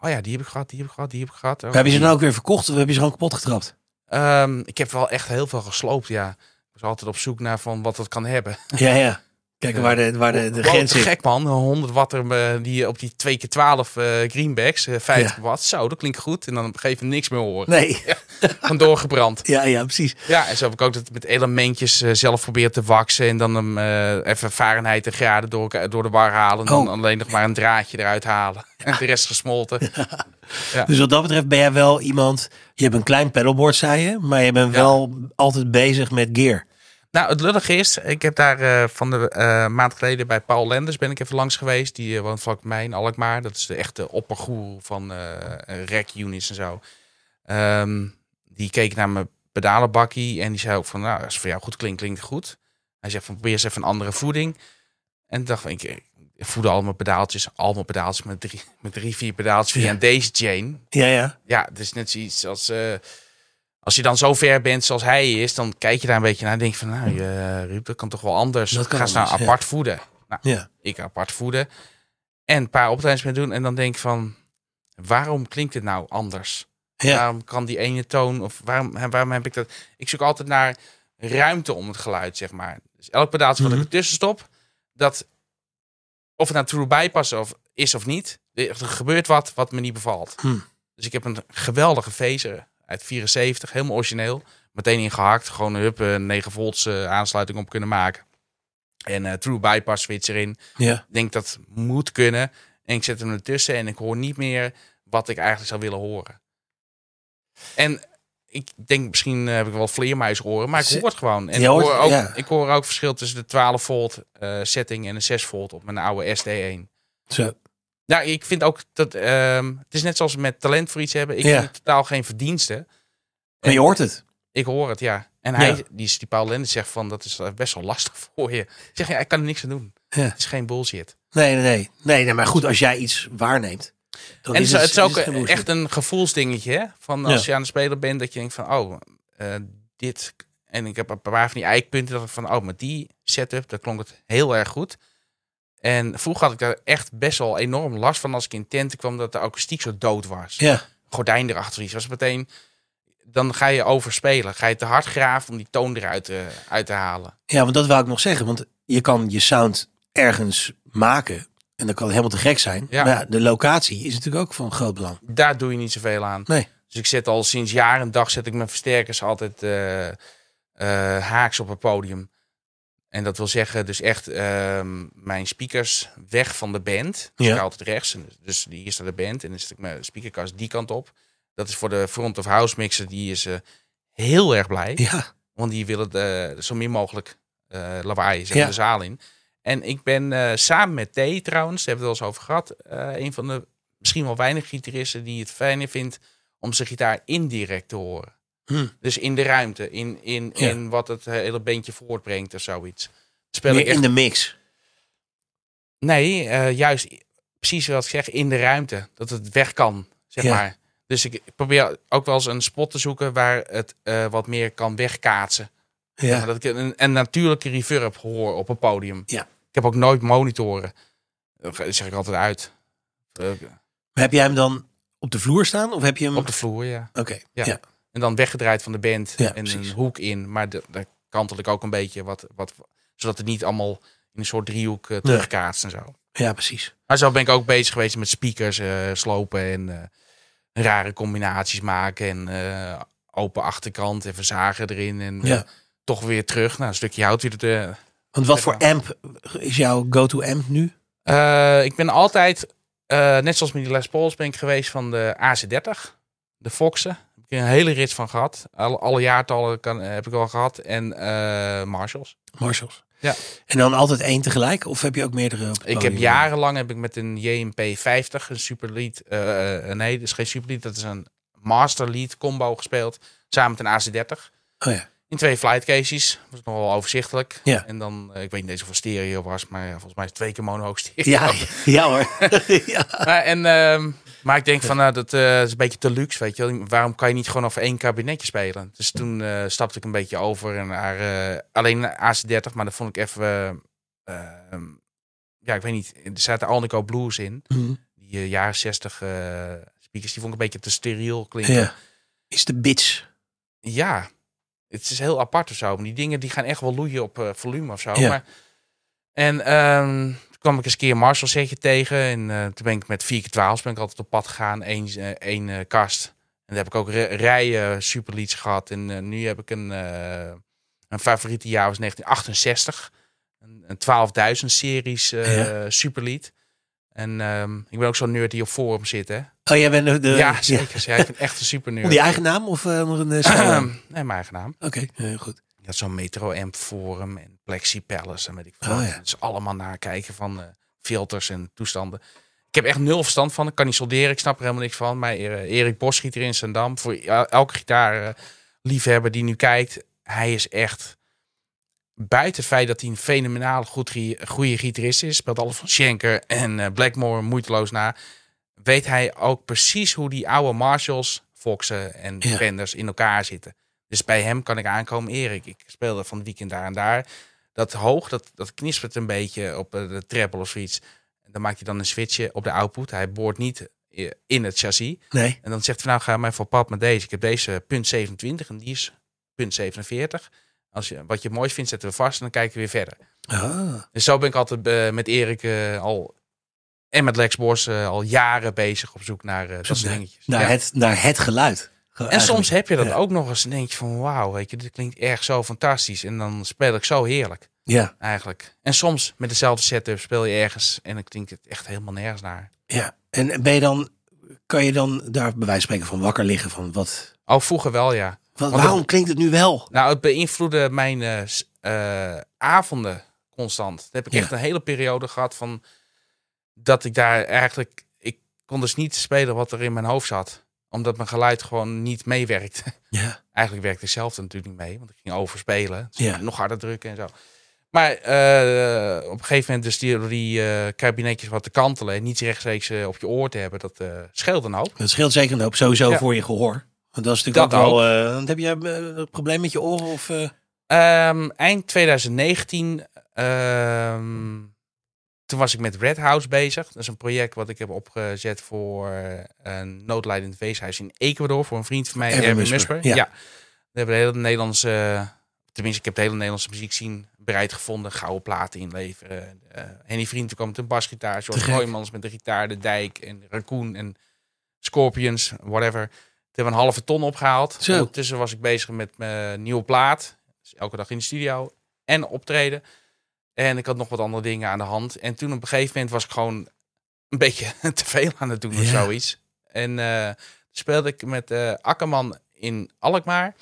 Oh ja, die heb ik gehad, die heb ik gehad, die heb ik gehad. Oh, Maar heb je ze nou- die- dan ook weer verkocht of heb je ze gewoon kapot getrapt? Ehm, ik heb wel echt heel veel gesloopt, ja. Ik was altijd op zoek naar van wat het kan hebben. Ja, ja. Kijken Ja. waar de, waar de, de Wow, grens te zit. gek man, 100 watt er, eh, die op die 2x12 eh, greenbacks, eh, 50 watt. Zo, dat klinkt goed. En dan op een gegeven moment niks meer horen. Nee. Van doorgebrand. Ja, ja, precies. Ja, en zo heb ik ook dat met elementjes eh, zelf proberen te waksen. En dan hem eh, even Fahrenheit en graden door, elkaar- door de war halen. En dan Oh. alleen nog maar een draadje eruit halen. En de rest gesmolten. Dus wat dat betreft ben jij wel iemand. Je hebt een klein paddleboard, zei je. Maar je bent Ja. wel altijd bezig met gear. Nou, het lullige is, ik heb daar eh, van de eh, maand geleden bij Paul Lenders ben ik even langs geweest. Die eh, woont vlak bij mij in Alkmaar. Dat is de echte oppergoeroe van eh rack-units en zo. Ehm, die keek naar mijn pedalenbakkie en die zei ook van, nou, als het voor jou goed klinkt, klinkt het goed. Hij zegt van, probeer eens even een andere voeding. En dacht van, ik, ik voedde al mijn pedaaltjes, al mijn pedaaltjes met drie, met drie vier pedaaltjes via Ja. een deze chain Ja, ja. ja, het is net zoiets als. eh, als je dan zo ver bent zoals hij is, dan kijk je daar een beetje naar en denk je van, nou, je, Ruud, dat kan toch wel anders. Dat kan Ga ze nou anders, ja. apart voeden. Nou, Ja. ik apart voeden. En een paar optredens mee doen en dan denk ik van, waarom klinkt het nou anders? Ja. Waarom kan die ene toon, of waarom, hè, waarom heb ik dat? Ik zoek altijd naar ruimte om het geluid, zeg maar. Dus elk pedaaltje wat Mhm. ik ertussen stop, dat, of het nou true bypass of, is of niet, er gebeurt wat wat me niet bevalt. Dus ik heb een geweldige vezer uit 74, helemaal origineel. Meteen ingehakt, gewoon een hup, een 9 volts eh, aansluiting op kunnen maken. En eh, true bypass switch erin. Ja. Ik denk dat moet kunnen. En ik zet hem ertussen en ik hoor niet meer wat ik eigenlijk zou willen horen. En ik denk, misschien eh, heb ik wel vleermuisoren, maar ik Ze- hoor het gewoon. En Je ik, hoort- hoor ook, ja. ik hoor ook verschil tussen de 12 volt eh, setting en de 6 volt op mijn oude SD1. Zo. Nou, ik vind ook dat ehm, het is net zoals met talent voor iets hebben. Ik Ja. vind het totaal geen verdiensten. Maar je hoort het. Ik hoor het, ja. En hij, die, die Paul Lenders zegt van dat is eh, best wel lastig voor je. Ik Zeg ja, ik kan er niks aan doen. Ja. Het is geen bullshit. Nee, nee, nee, nee. Nee, maar goed, als jij iets waarneemt. Dan en is het, is- het is ook geen bullshit. echt een gevoelsdingetje, hè? Van als je aan het spelen bent, dat je denkt van oh, eh, dit. En ik heb een paar van die eikpunten dat ik van oh, met die setup, dat klonk het heel erg goed. En vroeger had ik daar echt best wel enorm last van als ik in tenten kwam dat de akoestiek zo dood was. Ja. gordijn erachter iets was meteen. Dan ga je overspelen. Ga je te hard graven om die toon eruit te, uit te halen. ja, want dat wou ik nog zeggen. Want je kan je sound ergens maken. En dat kan helemaal te gek zijn. Ja. Maar ja, de locatie is natuurlijk ook van groot belang. Daar doe je niet zoveel aan. Nee. Dus ik zet al sinds jaar en dag zet ik mijn versterkers altijd eh, eh, haaks op het podium. En dat wil zeggen dus echt ehm, mijn speakers weg van de band. Dus Ja. ik ga altijd rechts. En Dus hier staat de band. En dan zet ik mijn speakerkast die kant op. Dat is voor de front of house mixer. Die is eh, heel erg blij. Ja. Want die willen eh, zo min mogelijk eh, lawaai zeg, Ja. de zaal in. En ik ben eh, samen met T trouwens, daar hebben we het wel eens over gehad. eh, een van de misschien wel weinig gitaristen die het fijner vindt om zijn gitaar indirect te horen. Hm. Dus in de ruimte, in, in, Ja. in wat het eh, hele beentje voortbrengt of zoiets. Speel Meer ik echt, in de mix. Nee, eh, juist i- precies wat ik zeg, in de ruimte. Dat het weg kan, zeg Ja. maar. Dus ik probeer ook wel eens een spot te zoeken waar het eh, wat meer kan wegkaatsen. Ja. Ja. Dat ik een, een natuurlijke reverb hoor op een podium. Ja. Ik heb ook nooit monitoren. Dat ge- zeg ik altijd uit. Eh, Maar heb jij hem dan op de vloer staan? Of heb je hem... Op de vloer, ja. Oké. Ja. ja. En dan weggedraaid van de band. Ja, en precies. een hoek in. Maar de- daar kantel ik ook een beetje. Wat, wat, zodat het niet allemaal in een soort driehoek eh, terugkaatst en zo. Ja, precies. Maar zo ben ik ook bezig geweest met speakers eh, slopen. En eh, rare combinaties maken. En eh, open achterkant. Even zagen erin. En eh, Ja. toch weer terug. Nou, een stukje hout weer de, Want wat Ja. voor amp is jouw go-to amp nu? Eh, ik ben altijd, eh, net zoals met die Les Pauls, ben ik geweest van de AC30. De Foxen. Daar heb ik een hele rits van gehad. Alle, alle jaartallen kan, eh, heb ik al gehad. En eh, Marshalls. Marshalls. Ja. En dan altijd één tegelijk? Of heb je ook meerdere op het Ik heb podium? jarenlang heb ik met een JMP50, een superlead. eh, eh, nee, dat is geen superlead. Dat is een masterlead combo gespeeld. Samen met een AC30. Oh ja. In twee flightcases. Dat was nogal overzichtelijk. Ja. En dan, eh, ik weet niet eens of het stereo was, maar ja, volgens mij is het twee keer mono stereo. Ja, ja hoor. ja. Maar, en, ehm, maar ik denk van, nou, dat eh, is een beetje te luxe, weet je wel. Waarom kan je niet gewoon over één kabinetje spelen? Dus toen eh, stapte ik een beetje over naar eh, alleen naar AC30, maar dat vond ik even... eh, ehm, ja, ik weet niet. Er zaten Alnico Blues in. Die eh, jaren 60 eh, speakers, die vond ik een beetje te steriel klinken. ja. Is de bitch. ja, het is heel apart of zo. Maar die dingen die gaan echt wel loeien op eh, volume of zo. Ja. Maar, en ehm, toen kwam ik eens een keer een Marshall setje tegen. En eh, toen ben ik met 4x12 ben ik altijd op pad gegaan. Eén eh, één eh, kast. En daar heb ik ook ri- rijen superleads gehad. En eh, nu heb ik een, eh een favoriete jaar was 1968. Een, een 12.000 series eh superlead. En ehm, ik ben ook zo'n nerd die op forum zit, hè? Oh, jij bent de... de- ja, zeker. Ja. ik ben echt een super Om nerd. die eigen naam of eh, onder een... eh, schuilnaam? nee, mijn eigen naam. Oké, heel goed. Je had zo'n Metro Amp Forum en Plexi Palace en weet ik veel. Oh, wat. ja. Dus allemaal nakijken van eh, filters en toestanden. Ik heb echt nul verstand van. Ik kan niet solderen. Ik snap er helemaal niks van. Maar eh, Erik Bos hier in Zandam. Voor el- elke gitaarliefhebber die nu kijkt. Hij is echt... Buiten het feit dat hij een fenomenaal goed, gi- goede gitarist is. Speelt alles van Schenker en eh, Blackmore moeiteloos na. Weet hij ook precies hoe die oude Marshalls, Foxen en Ja. Fenders in elkaar zitten. Dus bij hem kan ik aankomen, Erik. Ik speelde van het weekend daar en daar. Dat hoog, dat, dat knispert een beetje op eh, de treble of zoiets. Dan maak je dan een switchje op de output. Hij boort niet eh, in het chassis. Nee. En dan zegt hij, nou ga maar voor pap met deze. Ik heb deze punt 27 en die is punt 47. Als je, wat je mooi vindt, zetten we vast en dan kijken we weer verder. Ah. Dus zo ben ik altijd eh, met Erik eh, al en met Lex Bos eh, al jaren bezig op zoek naar eh, dat soort naar- dingetjes. Naar, Ja. het, naar het geluid. Gewoon En soms eigenlijk. heb je dat ja. ook nog eens en denk je van wauw, weet je, dit klinkt echt zo fantastisch. En dan speel ik zo heerlijk Ja, eigenlijk. En soms met dezelfde setup speel je ergens en dan klinkt het echt helemaal nergens naar. ja. En ben je dan... Kan je dan daar bij wijze van spreken van wakker liggen van wat... Oh, vroeger wel ja. wat Want waarom klinkt het nu wel? Nou, het beïnvloedde mijn eh, s- eh, avonden constant. Dat heb ik Ja. echt een hele periode gehad van dat ik daar eigenlijk ik kon dus niet spelen wat er in mijn hoofd zat, omdat mijn geluid gewoon niet meewerkte. Ja. Eigenlijk werkte ik zelf er natuurlijk niet mee, want ik ging overspelen. Dus Ja. Nog harder drukken en zo. Maar eh, op een gegeven moment dus die, door die eh, kabinetjes wat te kantelen en niet rechtstreeks eh, op je oor te hebben, dat eh, scheelt een hoop. Dat scheelt zeker een hoop. Sowieso Ja. voor je gehoor. Want dat is natuurlijk Dat ook wel... eh, want heb je eh, een probleem met je oren of... eh? Ehm, eind 2019, ehm, toen was ik met Red House bezig. Dat is een project wat ik heb opgezet voor eh, een noodlijdend weeshuis in Ecuador. Voor een vriend van mij, Erwin Erwin Musper, Musper. ja. Ja. We hebben de hele Nederlandse, eh, tenminste ik heb de hele Nederlandse muziek zien bereid gevonden. Gouden platen inleveren. Eh Henny Vriend kwam met een basgitaar. Te George gek. Roymans met de gitaar, De Dijk en Raccoon en Scorpions, whatever. Toen hebben we een halve ton opgehaald. Zo. Ondertussen was ik bezig met mijn nieuwe plaat. Dus elke dag in de studio. En optreden. En ik had nog wat andere dingen aan de hand. En toen op een gegeven moment was ik gewoon een beetje te veel aan het doen of Ja. zoiets. En eh, speelde ik met eh Akkerman in Alkmaar.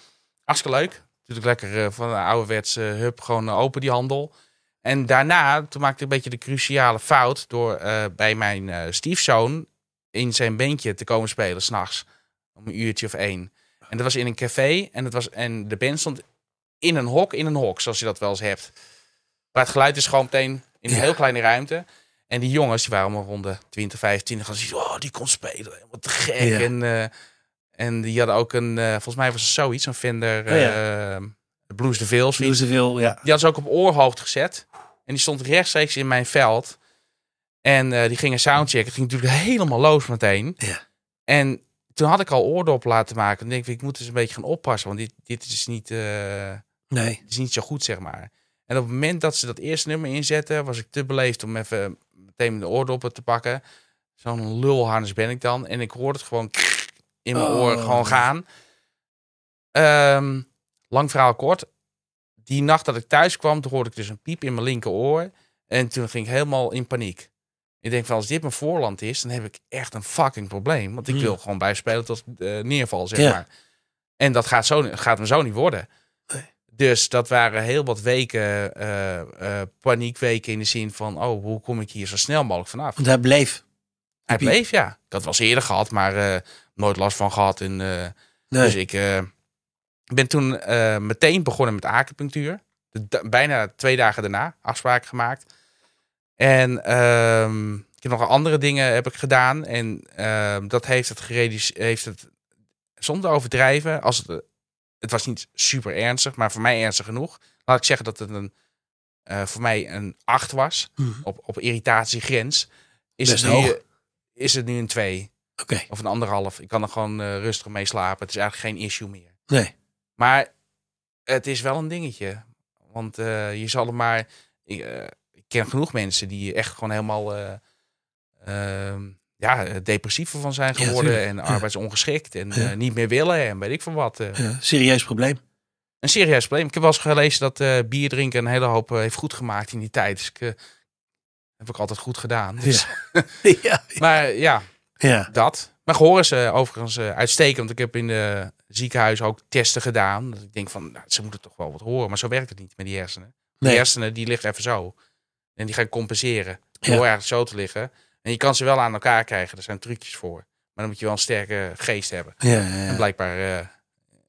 Hartstikke leuk. Natuurlijk lekker eh, van de ouderwets eh, hub gewoon eh, open die handel. En daarna, toen maakte ik een beetje de cruciale fout door eh, bij mijn eh, stiefzoon in zijn bandje te komen spelen s'nachts. Om een uurtje of één. En dat was in een café. En, het was, en de band stond in een hok, in een hok, zoals je dat wel eens hebt. Maar het geluid is gewoon meteen in een Ja. heel kleine ruimte. En die jongens, die waren allemaal rond de 20, 25. En ze oh, die kon spelen. Wat te gek. Ja. En, eh, en die hadden ook een, eh, volgens mij was het zoiets, een Fender Oh eh, Blues de Veils. Doen ze veel, ja. Die had ze ook op oorhoogte gezet. En die stond rechtstreeks in mijn veld. En eh, die gingen soundchecken. Het ging natuurlijk helemaal los meteen. Ja. En toen had ik al oordoppen laten maken. Dan denk ik, ik moet dus een beetje gaan oppassen. Want dit, dit is, niet, eh, Nee. dit is niet zo goed, zeg maar. En op het moment dat ze dat eerste nummer inzetten... was ik te beleefd om even meteen de oordoppen te pakken. Zo'n lulharnis ben ik dan. En ik hoorde het gewoon in mijn Oh. oor gewoon gaan. Ehm, lang verhaal kort. Die nacht dat ik thuis kwam, toen hoorde ik dus een piep in mijn linkeroor. En toen ging ik helemaal in paniek. Ik denk van, als dit mijn voorland is, dan heb ik echt een fucking probleem. Want ik Hmm. wil gewoon blijven spelen tot eh, neerval, zeg Ja. maar. En dat gaat, zo, gaat me zo niet worden. Nee. Dus dat waren heel wat weken, eh, eh, paniekweken in de zin van... oh, hoe kom ik hier zo snel mogelijk vanaf? Want hij bleef. Hij piep. bleef, ja. Ik had wel eens eerder gehad, maar eh, nooit last van gehad. En, eh, Nee. Dus ik eh, Ik ben toen eh, meteen begonnen met acupunctuur. De da- bijna twee dagen daarna afspraken gemaakt. En ehm, ik heb nog andere dingen heb ik gedaan. En ehm, dat heeft het gereduceerd. Heeft het zonder overdrijven. Als het, eh, het was niet super ernstig, maar voor mij ernstig genoeg. Laat ik zeggen dat het een, eh, voor mij een 8 was. Mhm. Op, op irritatiegrens. Is Best het, nu, hoog. is het nu een 2 Oké, of een anderhalf? Ik kan er gewoon eh, rustig mee slapen. Het is eigenlijk geen issue meer. nee. Maar het is wel een dingetje. Want eh, je zal er maar. Ik, eh, ik ken genoeg mensen die echt gewoon helemaal. eh, ehm, ja, eh, depressiever van zijn Ja, geworden. tuurlijk. en Ja. arbeidsongeschikt. En Ja. eh, niet meer willen. En weet ik van wat. eh. Ja, serieus probleem. Een serieus probleem. Ik heb wel eens gelezen dat eh, bier drinken een hele hoop eh, heeft goed gemaakt in die tijd. Dus ik, eh, heb ik altijd goed gedaan. Dus, ja. Maar ja, ja. dat. Mijn gehoor is eh, overigens eh, uitstekend. Want ik heb in de ziekenhuis ook testen gedaan. Dat ik denk van, nou, ze moeten toch wel wat horen. Maar zo werkt het niet met die hersenen. Nee. Die hersenen, die liggen even zo. En die gaan compenseren. Door Ja. eigenlijk zo te liggen. En je kan ze wel aan elkaar krijgen. Daar zijn trucjes voor. Maar dan moet je wel een sterke geest hebben. Ja, ja, En ja. blijkbaar eh,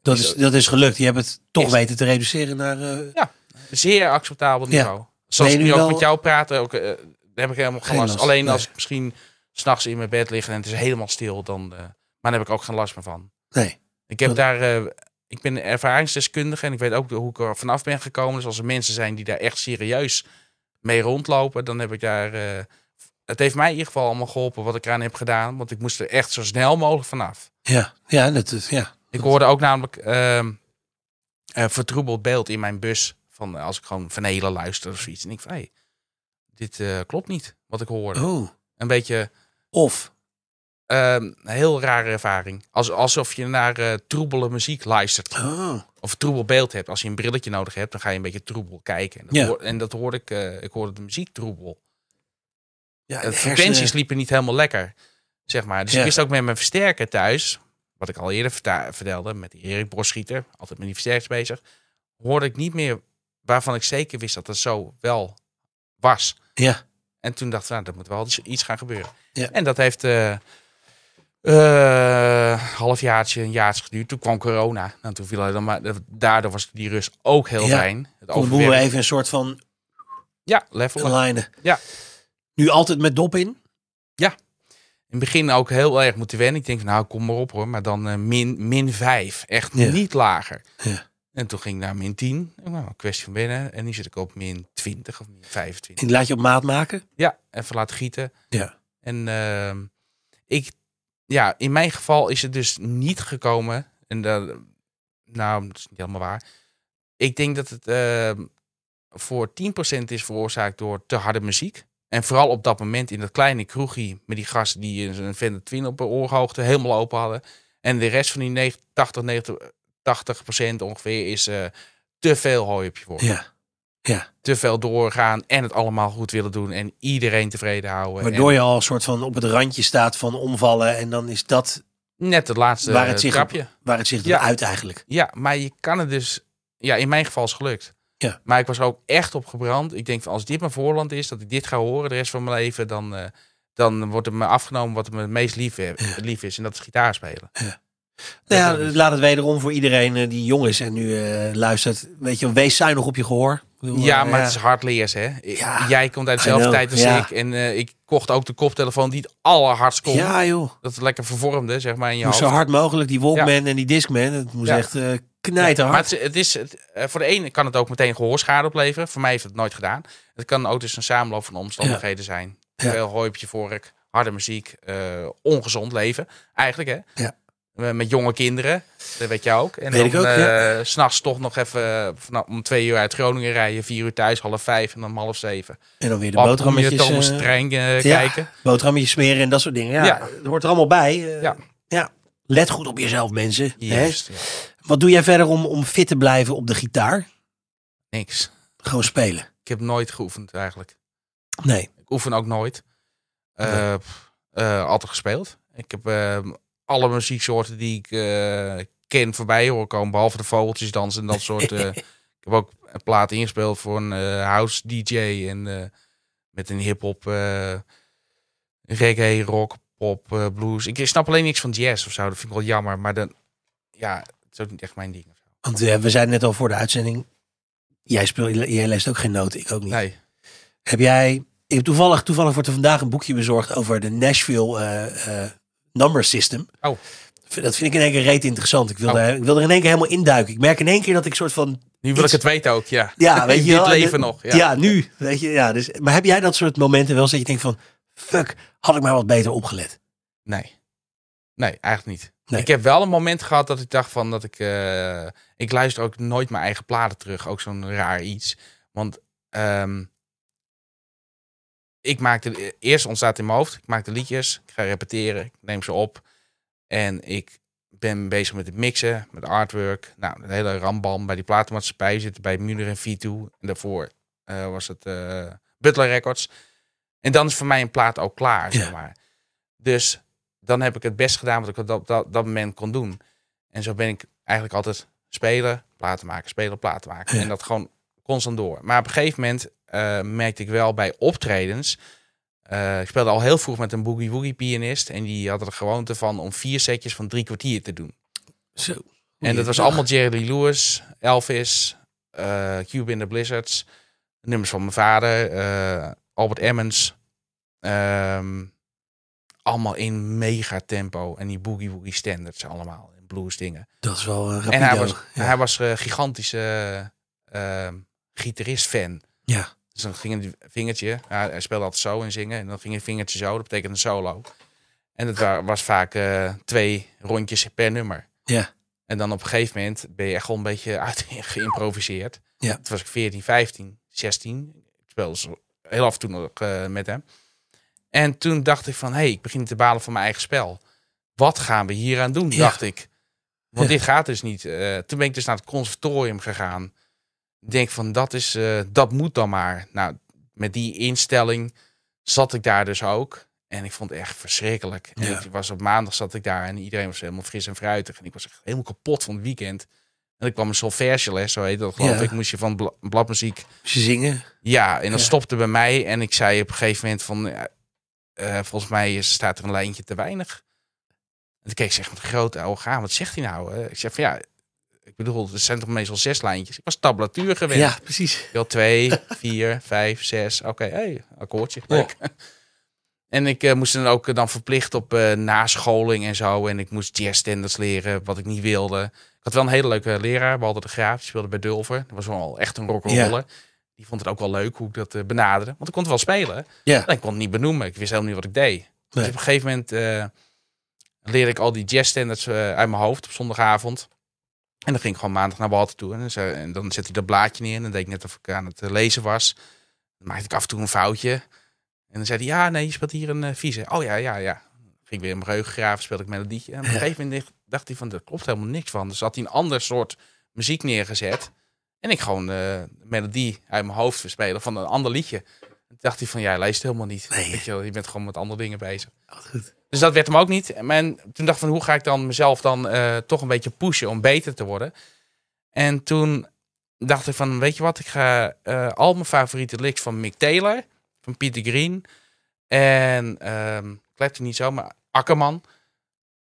Dat, is, dat is gelukt. Je hebt het toch Is- weten te reduceren naar... eh, zeer acceptabel Ja. niveau. Zoals Ben je ik nu nu ook wel- met jou praat, ook, eh, daar heb ik helemaal geen Geen last. last, Alleen nee. als ik misschien s'nachts in mijn bed lig en het is helemaal stil, dan, eh, maar dan heb ik ook geen last meer van. Nee. Ik, heb Dat- daar, eh, ik ben ervaringsdeskundige en ik weet ook hoe ik er vanaf ben gekomen. Dus als er mensen zijn die daar echt serieus mee rondlopen, dan heb ik daar... eh, het heeft mij in ieder geval allemaal geholpen wat ik eraan heb gedaan. Want ik moest er echt zo snel mogelijk vanaf. Ja, ja, dat, is- ja. Ik hoorde ook namelijk ehm een vertroebeld beeld in mijn bus. Van eh, als ik gewoon van Helen luister of zoiets. En ik van, hé, dit eh, klopt niet wat ik hoorde. Oh. Een beetje Of. ehm, een heel rare ervaring. Als, alsof je naar eh, troebele muziek luistert. Oh. Of troebel beeld hebt. Als je een brilletje nodig hebt, dan ga je een beetje troebel kijken. En dat, Ja. hoor- en dat hoorde ik, eh, ik hoorde de muziek troebel. Ja, De de Eh, frequenties hersenen- liepen niet helemaal lekker. Zeg maar. Dus Ja. ik wist ook met mijn versterker thuis, wat ik al eerder verta- vertelde, met die Erik Borschieter, altijd met die versterkers bezig, hoorde ik niet meer waarvan ik zeker wist dat het zo wel was. Ja. En toen dacht ik, nou, er moet wel iets- iets gaan gebeuren. Ja. En dat heeft eh eh halfjaartje, een jaartje geduurd. Toen kwam corona. Nou, toen viel hij dan maar, daardoor was die rust ook heel Ja. fijn. Het Kon de boel overwerken. even een soort van Ja, level. up. lijnen. Ja. Nu altijd met dop in. in het begin ook heel erg moeten wennen. Ik denk, nou, kom maar op hoor. Maar dan eh, min, min 5. Echt Ja. niet lager. Ja. En toen ging ik naar min 10. En Nou, een kwestie van wennen. En nu zit ik op min 20 of min 25. En laat je op maat maken. Ja, even laten gieten. Ja. En ehm, ik, ja, in mijn geval is het dus niet gekomen. En dat, nou, dat is niet helemaal waar. Ik denk dat het ehm, voor 10% is veroorzaakt door te harde muziek. En vooral op dat moment in dat kleine kroegje met die gasten die een- een Fender Twin op hun oorhoogte helemaal open hadden. En de rest van die negen- 80, 90, 80% ongeveer is eh, te veel hooi op je woord. Ja. Te veel doorgaan en het allemaal goed willen doen en iedereen tevreden houden. En- Waardoor je al een soort van op het randje staat van omvallen. En dan is dat Net het laatste Waar het zich op- trapje. waar het zich Ja. door uit eigenlijk. Ja, maar je kan het dus... Ja, in mijn geval is het gelukt. Ja. Maar ik was er ook echt op gebrand. Ik denk van als dit mijn voorland is, dat ik dit ga horen de rest van mijn leven, dan, eh, dan wordt het me afgenomen wat me het meest lief, lief is. En dat is gitaar spelen. Nou ja, laat het wederom voor iedereen eh, die jong is en nu eh, luistert. Weet je, wel, wees zuinig op je gehoor. Ik bedoel, Ja, eh, maar het is hard leers, hè? I- Ja. Jij komt uit I dezelfde know, tijd als ja. ik. En eh, ik kocht ook de koptelefoon die het allerhardst kon. Ja, joh. Dat het lekker vervormde, zeg maar, in je Moest hoofd. zo hard mogelijk. Die Walkman en die Discman. Het moest Ja. echt eh Maar knijterhard. het, is- het is, het, eh, voor de ene kan het ook meteen gehoorschade opleveren. Voor mij heeft het nooit gedaan. Het kan ook dus een samenloop van omstandigheden zijn. Ja. Veel hooi op je vork, harde muziek, eh, ongezond leven eigenlijk. Hè? Ja. Eh, Met jonge kinderen, dat weet jij ook. En Weet ik dan ook, ja. eh, s'nachts toch nog even eh, vanaf- om twee uur uit Groningen rijden, vier uur thuis, half vijf en dan om half zeven. En dan weer de Pap, kom je boterhammetjes, Thomas eh, Trein eh, ja. kijken. boterhammetjes smeren en dat soort dingen. Ja, Ja. Het hoort er allemaal bij. eh, Ja. ja. Let goed op jezelf, mensen. Hè? Juist, ja. Wat doe jij verder om, om fit te blijven op de gitaar? Niks. Gewoon spelen. Ik heb nooit geoefend eigenlijk. Nee. Ik oefen ook nooit. Eh, Nee. pff, eh, altijd gespeeld. Ik heb eh, alle muzieksoorten die ik eh, ken voorbij horen komen. Behalve de vogeltjesdans en dat soort. eh. ik heb ook een plaat ingespeeld voor een eh, house DJ. En eh, met een hip-hop, eh, reggae, rock, pop, eh, blues. Ik snap alleen niks van jazz of zo. Dat vind ik wel jammer. Maar dan, ja, het is ook niet echt mijn ding. of zo. Want eh, we zeiden net al voor de uitzending. Jij, speelt, jij leest ook geen noten, ik ook niet. Nee. Heb jij. Ik heb toevallig, toevallig wordt er vandaag een boekje bezorgd over de Nashville eh, eh, Number System. Oh. Dat vind ik in één keer reet interessant. Ik wil, Oh. daar, ik wil er in één keer helemaal induiken. Ik merk in één keer dat ik soort van. Nu wil ik Iets- het weten ook, ja. Ja, weet In je dit wel, leven de- nog. Ja. Ja, nu. Weet je, ja, dus, maar heb jij dat soort momenten wel eens dat je denkt van. Fuck, had ik maar wat beter opgelet? Nee. Nee, eigenlijk niet. Nee. Ik heb wel een moment gehad dat ik dacht van dat ik... eh, ik luister ook nooit mijn eigen platen terug. Ook zo'n raar iets. Want ehm, ik maakte... Eerst ontstaat in mijn hoofd. Ik maak de liedjes. Ik ga repeteren. Ik neem ze op. En ik ben bezig met het mixen. Met artwork. Nou, een hele rambam bij die platenmaatschappij. We Zitten bij Muller en V2. En daarvoor eh, was het eh, Butler Records. En dan is voor mij een plaat ook klaar, Ja. zeg maar. Dus dan heb ik het best gedaan wat ik op dat, dat, dat moment kon doen. En zo ben ik eigenlijk altijd spelen, platen maken, spelen, platen maken. Ja. En dat gewoon constant door. Maar op een gegeven moment eh, merkte ik wel bij optredens. eh, ik speelde al heel vroeg met een boogie woogie pianist. En die had er de gewoonte van om vier setjes van drie kwartier te doen. Zo. En dat was Goeiedag. allemaal Jerry Lee Lewis, Elvis, eh Cube in the Blizzards, nummers van mijn vader, eh, Albert Emmons. Ehm, allemaal in mega tempo. En die boogie woogie standards allemaal. En blues dingen. Dat is wel een En rapido. hij was, ja. hij was een gigantische ehm gitarist-fan. Ja. Dus dan ging een vingertje, hij hij speelde altijd zo en zingen. En dan ging een vingertje zo, dat betekent een solo. En dat wa- was vaak eh, twee rondjes per nummer. Ja. En dan op een gegeven moment ben je echt wel een beetje uit geïmproviseerd. Ja. Toen was ik 14, 15, 16. Ik speelde zo heel af en toe nog eh, met hem. En toen dacht ik van, hé, hey, ik begin te balen van mijn eigen spel. Wat gaan we hier aan doen, Ja. dacht ik. Want Ja. dit gaat dus niet. Eh, toen ben ik dus naar het conservatorium gegaan. Ik denk van, dat, is, eh, dat moet dan maar. Nou, met die instelling zat ik daar dus ook. En ik vond het echt verschrikkelijk. En Ja. ik was op maandag zat ik daar en iedereen was helemaal fris en fruitig. En ik was echt helemaal kapot van het weekend. En ik kwam een solfège les, zo heet dat geloof Ja. ik. Moest je van bla- bladmuziek Ze zingen. ja, en dat Ja. stopte bij mij. En ik zei op een gegeven moment van... ja, eh, volgens mij is- staat er een lijntje te weinig. En toen keek ik zeg met grote ogen aan. Wat zegt hij nou? Eh, Ik zeg van ja... Ik bedoel, er zijn toch meestal zes lijntjes. Ik was tablatuur gewend. Ja, precies. Ik wil twee, vier, vijf, zes. Oké, hey, akkoordje. Ja. Leuk. En ik eh, moest dan ook eh, dan verplicht op eh, nascholing en zo. En ik moest jazzstandards leren, wat ik niet wilde. Ik had wel een hele leuke leraar, Walter de Graaf. Die speelde bij Dulver. Dat was wel echt een rock'n'roller. Die vond het ook wel leuk hoe ik dat eh, benaderde. Want ik kon het wel spelen. Ja. En ik kon het niet benoemen. Ik wist helemaal niet wat ik deed. Dus op een gegeven moment eh, leerde ik al die jazzstandards eh uit mijn hoofd op zondagavond. En dan ging ik gewoon maandag naar Walter toe. En, ze- en dan zette hij dat blaadje neer. En dan deed ik net of ik aan het eh, lezen was. Dan maakte ik af en toe een foutje. En dan zei hij, ja, nee, je speelt hier een eh, vieze. Oh ja, ja, ja. Ging ik weer in mijn geheugen graven, speelde ik melodietje. En op een Ja. gegeven moment dacht- dacht hij van, er klopt helemaal niks van. Dus had hij een ander soort muziek neergezet. En ik gewoon eh melodie uit mijn hoofd verspelen van een ander liedje. Toen dacht hij van, jij leest helemaal niet. Nee. Weet je, wel, je bent gewoon met andere dingen bezig. Wat goed. Dus dat werd hem ook niet. En toen dacht ik van, hoe ga ik dan mezelf dan eh, toch een beetje pushen om beter te worden? En toen dacht ik van, weet je wat, ik ga eh, al mijn favoriete licks van Mick Taylor, van Peter Green en ehm Clapton niet zo, maar Akkerman.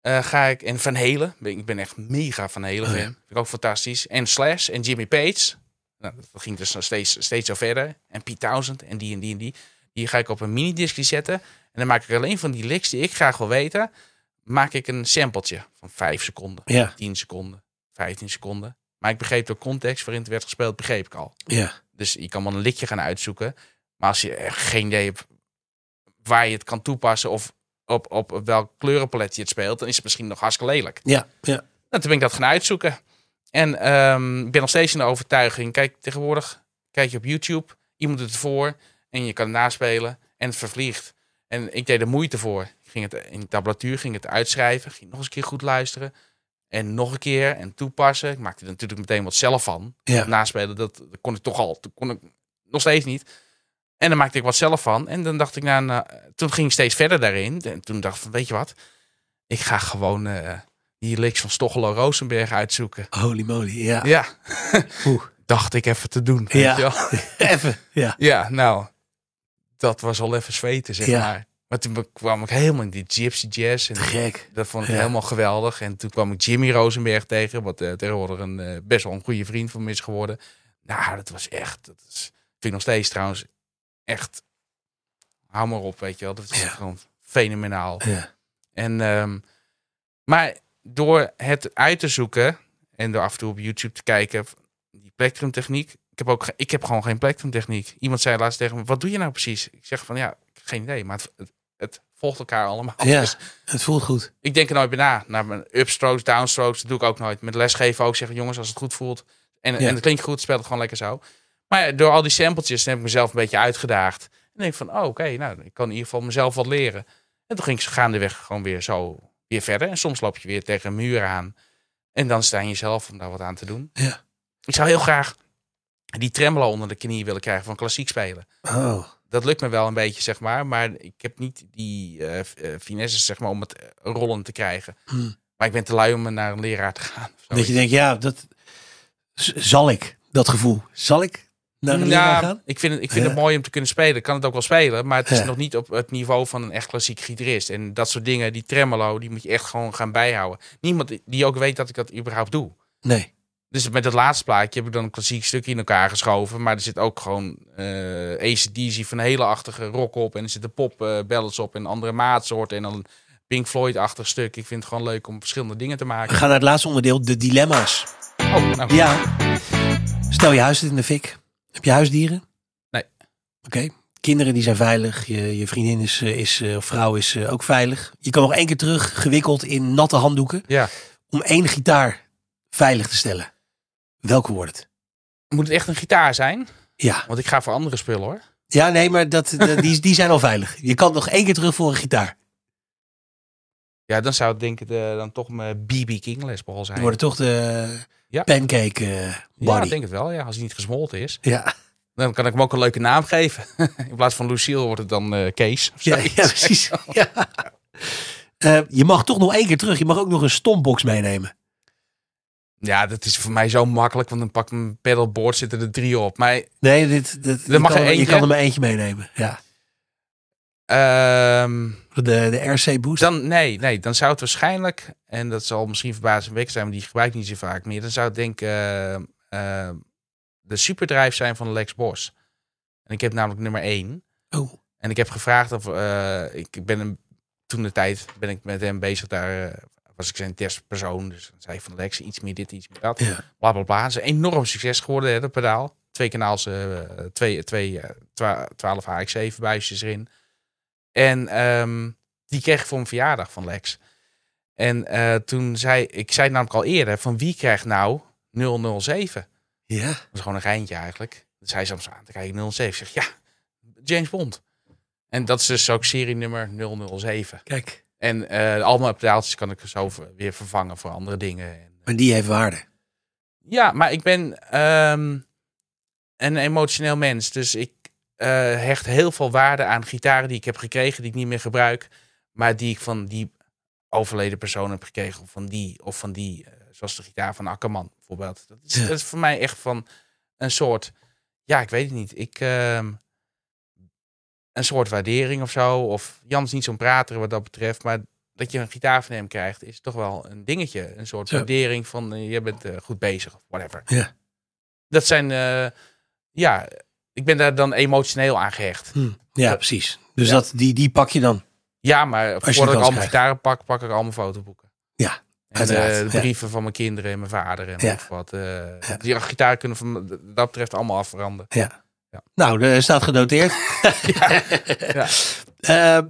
eh, ga ik en Van Helen. Ben- Ik ben echt mega van Helen Oh fan. ja. Vind ik ook fantastisch. En Slash en Jimmy Page. Nou, dat ging dus nog steeds, steeds zo verder. En Pete Townsend en die en die en die. Die ga ik op een minidiscje zetten. En dan maak ik alleen van die licks die ik graag wil weten, maak ik een sampletje van 5 seconden, Ja. 10 seconden, 15 seconden. Maar ik begreep de context waarin het werd gespeeld, begreep ik al. Ja. Dus je kan wel een liedje gaan uitzoeken. Maar als je echt geen idee hebt waar je het kan toepassen of op, op, op welk kleurenpalet je het speelt, dan is het misschien nog hartstikke lelijk. Ja. Ja. Nou, toen ben ik dat gaan uitzoeken. En ehm, ik ben nog steeds in de overtuiging. Kijk, tegenwoordig kijk je op YouTube. Iemand doet het voor en je kan het naspelen en het vervliegt. En ik deed er moeite voor. Ik ging het in de tablatuur, ging het uitschrijven, ging nog eens een keer goed luisteren. En nog een keer en toepassen. Ik maakte er natuurlijk meteen wat zelf van. Ja. Het Naspelen, dat, dat kon ik toch al. Toen kon ik nog steeds niet. En dan maakte ik wat zelf van. En dan dacht ik, nou, nou, toen ging ik steeds verder daarin. En toen dacht ik, van, weet je wat? Ik ga gewoon eh, die licks van Stochelo Rosenberg uitzoeken. Holy moly. Ja. Ja, Oeh. dacht ik even te doen. weet Ja. je wel. Even. Ja. ja, nou, dat was al even zweten, zeg Ja. maar. Maar toen kwam ik helemaal in die gypsy jazz. En Te gek. dat vond ik Ja. helemaal geweldig. En toen kwam ik Jimmy Rosenberg tegen, wat eh, tegenwoordig een, eh, best wel een goede vriend van me is geworden. Nou, dat was echt, dat is, vind ik nog steeds trouwens echt, hou maar op, weet je wel. Dat is Ja. gewoon fenomenaal. Ja. En, ehm, maar door het uit te zoeken en door af en toe op YouTube te kijken, die plectrumtechniek. Ik heb, ook, ge- ik heb gewoon geen plectrumtechniek. Iemand zei laatst tegen me, wat doe je nou precies? Ik zeg van, ja, geen idee, maar het, het, het volgt elkaar allemaal. ja, Dus het voelt goed. ik denk er nooit bij na. Naar mijn upstrokes, downstrokes, dat doe ik ook nooit. Met lesgeven ook zeggen, jongens, als het goed voelt en, Ja. en het klinkt goed, speel het gewoon lekker zo. Maar ja, door al die sampletjes heb ik mezelf een beetje uitgedaagd. En denk van, oh, oké, nou, ik kan in ieder geval mezelf wat leren. En toen ging ik gaandeweg gewoon weer zo weer verder. En soms loop je weer tegen een muur aan. En dan sta je jezelf om daar wat aan te doen. Ja. Ik zou heel graag die tremolo onder de knie willen krijgen van klassiek spelen Oh, dat lukt me wel een beetje, zeg maar. Maar ik heb niet die eh f- eh, finesse, zeg maar, om het eh, rollen te krijgen. Hmm. Maar ik ben te lui om naar een leraar te gaan. of zo. dat je denkt, ja, dat z- zal ik, dat gevoel. Zal ik naar een leraar Mm, ja, gaan? ik vind, het, ik vind Ja. het mooi om te kunnen spelen. Ik kan het ook wel spelen, maar het is Ja. nog niet op het niveau van een echt klassiek gitarist. En dat soort dingen, die tremolo, die moet je echt gewoon gaan bijhouden. Niemand die ook weet dat ik dat überhaupt doe. Nee. Dus met dat laatste plaatje heb ik dan een klassiek stukje in elkaar geschoven. Maar er zit ook gewoon eh ACDC van hele achtige rock op. En er zitten pop eh, ballads op en andere maatsoorten. En dan Pink Floyd-achtig stuk. Ik vind het gewoon leuk om verschillende dingen te We maken. gaan naar het laatste onderdeel, de dilemma's. Oh, nou, Ja. Stel, je huis zit in de fik. Heb je huisdieren? Nee. Oké. Kinderen die zijn veilig. Je, je vriendin is, eh, is, eh, of vrouw is eh, ook veilig. Je kan nog één keer terug, gewikkeld in natte handdoeken. ja. Om één gitaar veilig te stellen. Welke wordt het? Moet het echt een gitaar zijn? Ja. Want ik ga voor andere spullen hoor. Ja, nee, maar dat, dat- die, die zijn al veilig. Je kan nog één keer terug voor een gitaar. Ja, dan zou het denk ik eh, dan toch mijn BB King lesbal zijn. Dan worden toch de Ja. pancake eh, ja, body. ik denk het wel. Ja, als hij niet gesmolten is. Ja, Dan kan ik hem ook een leuke naam geven. in plaats van Lucille wordt het dan eh, Kees. of ja, ja, zoiets. precies. Ja. Eh, je mag toch nog één keer terug. Je mag ook nog een stombox meenemen. Ja, dat is voor mij zo makkelijk, want dan pak ik mijn pedalboard, zitten er drie op. Maar Nee, dit, dit, je, mag kan, er er- je eentje. kan er maar eentje meenemen. Ja. ehm, De, de RC Boost. dan, nee, nee, dan zou het waarschijnlijk, en dat zal misschien verbazingwekkend zijn, maar die gebruik ik niet zo vaak meer. Dan zou het denk ik ehm, ehm, de superdrive zijn van Lex Bos. En ik heb namelijk nummer één. Oh, En ik heb gevraagd of eh, ik ben hem toen de tijd ben ik met hem bezig. Daar eh, was ik zijn testpersoon. Dus dan zei ik van Lex, iets meer dit, iets meer dat. Ja. Bla bla bla. Het is een enorm succes geworden, hè, dat pedaal. Twee kanaals, eh, twee, twee, eh, twa- 12 HX7 buisjes erin. En ehm, die kreeg ik voor mijn verjaardag van Lex. En eh, toen zei ik, zei het namelijk al eerder, van wie krijgt nou 007? ja. Dat is gewoon een geintje eigenlijk. Dus hij zat zo aan te kijken, 007. Ik zeg, ja, James Bond. En dat is dus ook serienummer 007. Kijk. En eh allemaal pedaaltjes kan ik dus zo ver- weer vervangen voor andere dingen. En, eh, Maar die heeft waarde. ja, maar ik ben ehm, een emotioneel mens. Dus ik eh, hecht heel veel waarde aan gitaren die ik heb gekregen, die ik niet meer gebruik. Maar die ik van die overleden persoon heb gekregen. Of van die, of van die eh, zoals de gitaar van Akkerman bijvoorbeeld. Dat is, Ja. dat is voor mij echt van een soort, ja, ik weet het niet. Ik, ehm, een soort waardering of zo. Of Jan is niet zo'n prater wat dat betreft. Maar dat je een gitaar van hem krijgt, is toch wel een dingetje. Een soort Ja. waardering van, eh, je bent eh, goed bezig, of whatever. Ja. Dat zijn, eh, ja, ik ben daar dan emotioneel aan gehecht. Hm. Ja, precies. Dus Dat, die, die pak je dan. Ja, maar je voordat ik kans al mijn krijgt. gitaren pak, pak ik al mijn fotoboeken. Ja, En uiteraard, eh, de ja. brieven van mijn kinderen en mijn vader en Ja. of wat. eh, Die gitaar kunnen van dat betreft allemaal afveranderen. Ja. Ja. Nou, er staat genoteerd. Ja. Eh,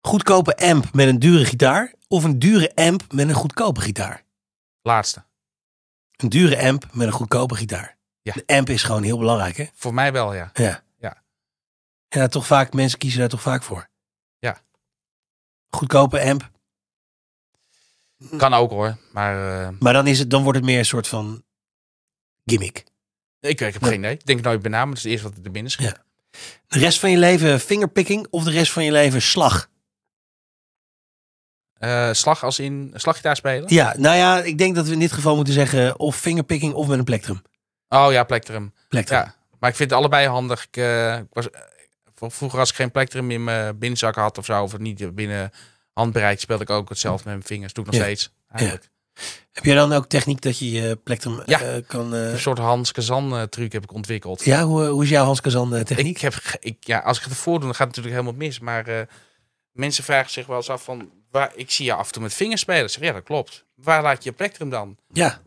goedkope amp met een dure gitaar. Of een dure amp met een goedkope gitaar. Laatste. Een dure amp met een goedkope gitaar. Ja. De amp is gewoon heel belangrijk, hè? Voor mij wel, ja. Ja. Ja. Ja, toch vaak, mensen kiezen daar toch vaak voor. Ja. Goedkope amp. Kan ook hoor. Maar eh, Maar dan, is het, dan wordt het meer een soort van gimmick. ik, ik heb Ja. geen idee. Ik denk er nooit bij na, maar het is het eerste wat er binnen schiet. Ja. De rest van je leven fingerpicking of de rest van je leven slag? Eh, slag als in slaggitaar spelen. Ja, nou ja, ik denk dat we in dit geval moeten zeggen of fingerpicking of met een plectrum. Oh ja, plectrum. plectrum. Ja. Maar ik vind het allebei handig. Ik, eh, ik was, eh, Vroeger als ik geen plektrum in mijn binnenzak had of zo, of niet binnen handbereik, speelde ik ook hetzelfde met mijn vingers. Doe ik nog Ja. steeds, eigenlijk. Heb jij dan ook techniek dat je je plektrum Ja. eh, kan... Een eh, soort Hans Kazan eh, truc heb ik ontwikkeld. ja, hoe, hoe is jouw Hans Kazan eh, techniek? Ik heb, ge- ik, ja, als ik het voordoe, dan gaat het natuurlijk helemaal mis. Maar eh, mensen vragen zich wel eens af van, waar, ik zie je af en toe met vingers spelen. Ik zeg, ja, dat klopt. Waar laat je je plektrum dan? ja,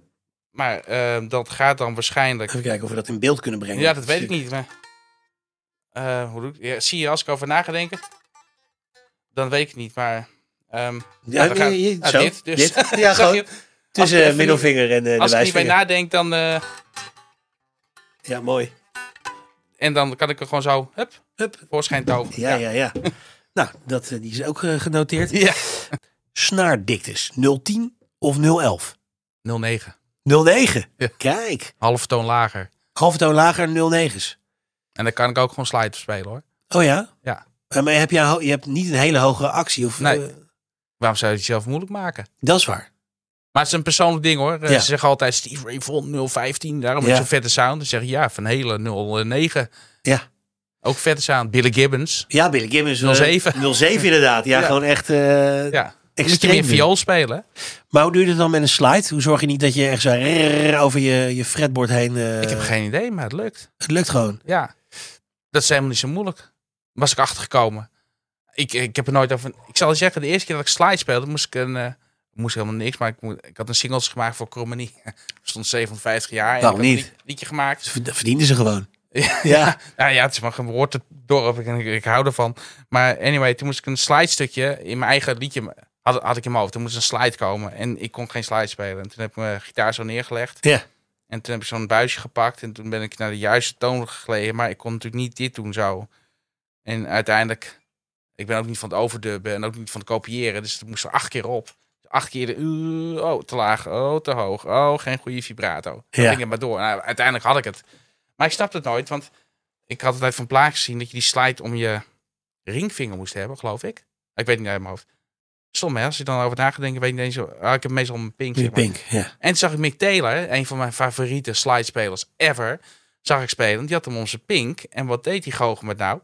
Maar eh, dat gaat dan waarschijnlijk... even kijken of we dat in beeld kunnen brengen. Ja, dat weet ik niet. Maar, Eh, hoe doe ik, ja, zie je, als ik over na ga denken, dan weet ik het niet. Maar ehm, Ja, dan gaat- nee, nee, ah, zo. dit dus. Ja, zag je gewoon het? Als ik tussen er eh, even middelvinger en eh, de als ik er niet bij wijsvinger. nadenk, dan, eh, Ja, mooi. en dan kan ik er gewoon zo, hup, Hup. voorschijn toveren. Ja, ja, ja. nou, dat, eh, die is ook eh, genoteerd. ja. Snaardiktes, 010 of 011? 09, 09. Ja. Kijk, halve toon lager. halve toon lager 09's. En dan kan ik ook gewoon slide spelen hoor. Oh ja? Ja. Eh, maar heb je, een ho- je hebt niet een hele hoge actie? Of, Nee. eh, Waarom zou je het zelf moeilijk maken? dat is waar. Maar het is een persoonlijk ding hoor. Eh, Ja. Ze zeggen altijd Steve Ray Vaughan 015. Daarom Ja. is zo'n vette sound. Dan zeg je ja, van hele 09. Ja. Ook vette sound. Billy Gibbons. Ja, Billy Gibbons. eh, 07. 07 inderdaad. Ja, Ja. gewoon echt eh Ja. Moet je extreem. meer viool spelen. hè? Maar hoe doe je dat dan met een slide? Hoe zorg je niet dat je echt zo rrrr over je, je fretboard heen... eh, Ik heb geen idee, maar het lukt. Het lukt gewoon. Ja. Dat is helemaal niet zo moeilijk. Was ik achtergekomen. Ik, ik heb er nooit over. Ik zal je zeggen, de eerste keer dat ik slide speelde, moest ik een. eh, moest helemaal niks, maar ik, moet, ik had een singles gemaakt voor Cromanie. Stond 57 jaar. en Waarom ik had een niet? lied- liedje gemaakt. Ze verd- verdienden ze gewoon. Ja. Ja. Nou ja, het is maar een woorddorp en ik, ik hou ervan. Maar anyway, toen moest ik een slide stukje in mijn eigen liedje had, had ik in mijn hoofd. Toen moest een slide komen en ik kon geen slide spelen. En toen heb ik mijn gitaar zo neergelegd. Ja. En toen heb ik zo'n buisje gepakt en toen ben ik naar de juiste toon gegleden. Maar ik kon natuurlijk niet dit doen zo. En uiteindelijk, ik ben ook niet van het overdubben en ook niet van het kopiëren. Dus het moest er acht keer op. Acht keer, de, uh, oh, te laag, oh, te hoog, oh, geen goede vibrato. Dan Ja. ging het maar door. Nou, uiteindelijk had ik het. Maar ik snapte het nooit, want ik had altijd van plaatjes gezien dat je die slide om je ringvinger moest hebben, geloof ik. Ik weet het niet uit mijn hoofd. Stom, hè? Als je dan over na gaat denken, weet je niet eens... Ah, ik heb meestal mijn pink. zeg maar. Pink, ja. En toen zag ik Mick Taylor, een van mijn favoriete slidespelers ever, zag ik spelen. Die had hem om zijn pink. En wat deed die goochel met nou?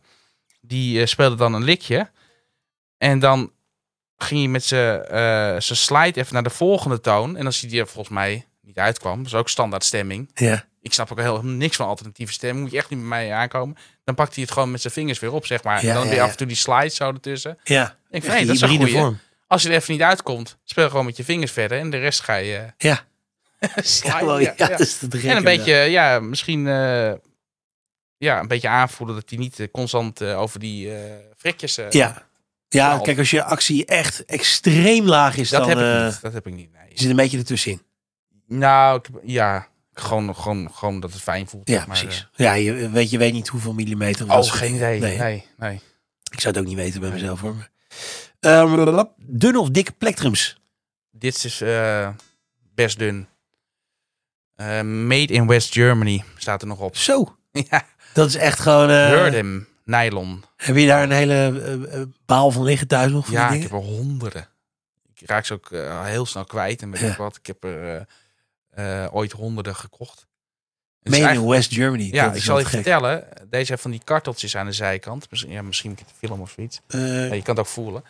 Die eh, speelde dan een likje. En dan ging hij met zijn eh, zijn slide even naar de volgende toon. En als hij die er volgens mij niet uitkwam, dat is ook standaard stemming. ja. Ik snap ook helemaal niks van alternatieve stemming. Moet je echt niet met mij aankomen. Dan pakt hij het gewoon met zijn vingers weer op, zeg maar. Ja, en dan ja, weer ja. af en toe die slides zo ertussen. Ja. Ik vind, Echt hey, die dat is een hybride goeie. vorm. Als je er even niet uitkomt, speel gewoon met je vingers verder. En de rest ga je eh, Ja. sliden. Ja, wel, ja, Ja, ja. dat is te gek, En een inderdaad. beetje, ja, misschien eh, ja, een beetje aanvoelen dat hij niet eh, constant eh, over die eh frikjes... eh, Ja. Ja, knalt. kijk, als je actie echt extreem laag is, dat, dan heb eh, ik niet, dat heb ik niet. Nee. zit een beetje ertussenin. Nou, ik, heb- ja, gewoon, gewoon, gewoon dat het fijn voelt. Ja, zeg maar, precies. Ja, je weet, je weet niet hoeveel millimeter. eh. dat oh, soort geen dingen. idee. Nee. Nee, nee. Ik zou het ook niet weten bij mezelf hoor. maar- Eh, blablabla. dun of dikke plektrums? Dit is eh, best dun. Eh, made in West Germany staat er nog op. Zo. ja, Dat is echt gewoon... eh, Heard him, nylon. heb je daar een hele eh, eh, baal van liggen thuis nog? Van Ja, die ik dingen? heb er honderden. Ik raak ze ook eh, heel snel kwijt. En weet Ja. ik wat. Ik heb er eh, eh, ooit honderden gekocht. Het is Made eigenlijk- in West Germany. ja, dat ik is zal wel je gek. vertellen. Deze heeft van die karteltjes aan de zijkant. Misschien, ja, misschien moet je het filmen of zoiets. Eh, Ja, je kan het ook voelen.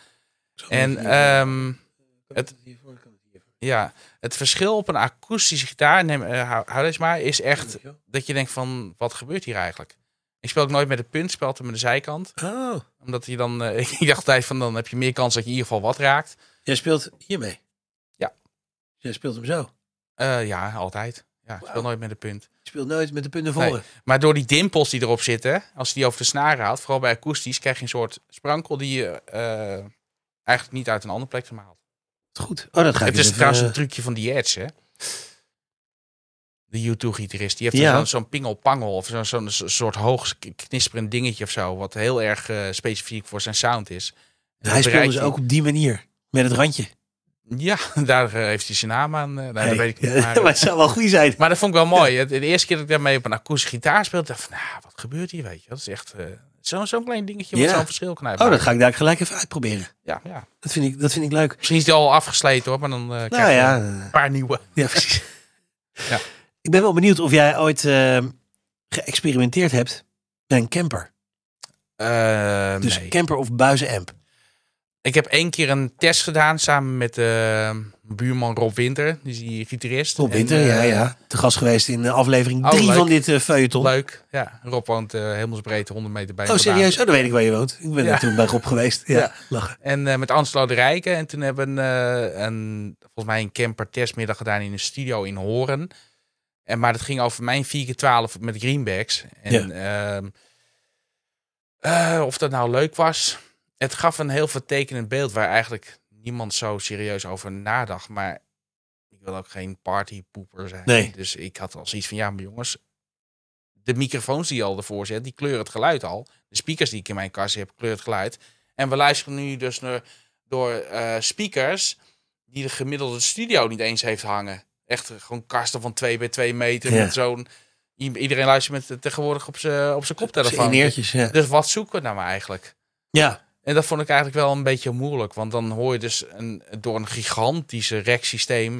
zo En even- ehm, Kan het- het hiervoor, kan het hiervoor. ja, het verschil op een akoestische gitaar, neem, eh, hou, hou deze maar, is echt Weet je wel. dat je denkt van, wat gebeurt hier eigenlijk? Ik speel ook nooit met de punt, speel altijd met de zijkant. Oh, Omdat je dan, eh, ik dacht altijd van, dan heb je meer kans dat je in ieder geval wat raakt. jij speelt hiermee? Ja. Jij speelt hem zo? Eh, ja, altijd. Ja, ik speel Wauw. nooit met de punt. Je speelt nooit met de punten Nee. voren. Maar door die dimpels die erop zitten, als je die over de snaren haalt, vooral bij akoestisch, krijg je een soort sprankel die je eh, eigenlijk niet uit een andere plek haalt. Goed. Oh, dat ga ik Het is even, trouwens eh, een trucje van die Edge, hè? De U2-gitarist. Die heeft Ja. dan zo'n zo'n pingel-pangel of zo'n zo'n so- soort hoog k- knisperend dingetje of zo. Wat heel erg eh, specifiek voor zijn sound is. En Hij dat speelde bereikt ze ook op die manier. Met het randje. Ja, daar eh, heeft hij zijn naam aan. eh, nou, Hey. dat weet ik Ja, niet. Maar, eh, maar het zou wel goed zijn. maar dat vond ik wel mooi. Het- De eerste keer dat ik daarmee op een akoestische gitaar speelde, dacht ik van, nou, wat gebeurt hier, weet je? Dat is echt eh, zo'n zo'n klein dingetje wat Ja. zo'n verschil kan Oh, uitmaken. dat ga ik daar gelijk even uitproberen. ja, ja. Dat vind ik, dat vind ik leuk. Misschien is die al afgesleten, hoor, maar dan eh, krijg Nou je ja, een eh, paar nieuwe. ja precies. Ja. Ik ben ehm, wel benieuwd of jij ooit eh, geëxperimenteerd hebt met een camper. Eh, Dus nee. camper of buizenamp. Ik heb één keer een test gedaan samen met eh, buurman Rob Winter. Die is die gitarist. Rob En, Winter, eh, ja, ja. Te gast geweest in eh, aflevering Oh, 3 leuk. van dit eh feuilleton. Leuk. Ja, Rob woont eh hemelsbreed 100 meter bij Oh, me vandaan. serieus? Oh, dan weet ik waar je woont. Ik ben Ja. er toen bij Rob geweest. Ja, Ja. lachen. En eh, met Anselo de Rijken. En toen hebben we een, eh, een, volgens mij een camper testmiddag gedaan in een studio in Horen. En, maar dat ging over mijn 4x12 met greenbacks. En ehm, eh, of dat nou leuk was. Het gaf een heel vertekenend beeld waar eigenlijk niemand zo serieus over nadacht. Maar ik wil ook geen partypoeper zijn. Nee. Dus ik had al zoiets van, ja maar jongens, de microfoons die je al ervoor zet, die kleuren het geluid al. De speakers die ik in mijn kast heb, kleuren het geluid. En we luisteren nu dus naar, door eh, speakers die de gemiddelde studio niet eens heeft hangen. Echt eh, gewoon kasten van 2 bij 2 meter. Ja. Met zo'n, i- iedereen luistert met, eh, tegenwoordig op zijn op zijn In koptelefoon. eertjes, ja. Dus wat zoeken we nou eigenlijk? Ja, En dat vond ik eigenlijk wel een beetje moeilijk. Want dan hoor je dus een, door een gigantische reksysteem.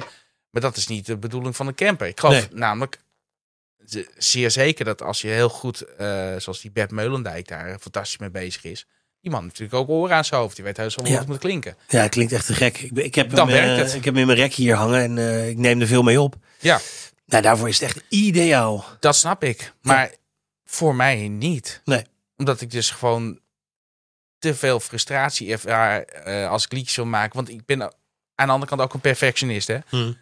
Maar dat is niet de bedoeling van een camper. Ik geloof namelijk ze- zeer zeker dat als je heel goed, eh, zoals die Bert Meulendijk daar fantastisch mee bezig is. Die man heeft natuurlijk ook oren aan zijn hoofd. Die weet heus wel hoe Ja. het moet klinken. ja het klinkt echt te gek. Ik, ben- ik, heb, Dan hem, eh, werkt het. ik heb hem in mijn rek hier hangen en eh, ik neem er veel mee op. Ja. Nou, daarvoor is het echt ideaal. Dat snap ik. Maar voor mij niet. Nee. Omdat ik dus gewoon te veel frustratie ervaar eh, als ik liedjes wil maken. Want ik ben aan de andere kant ook een perfectionist. Hè?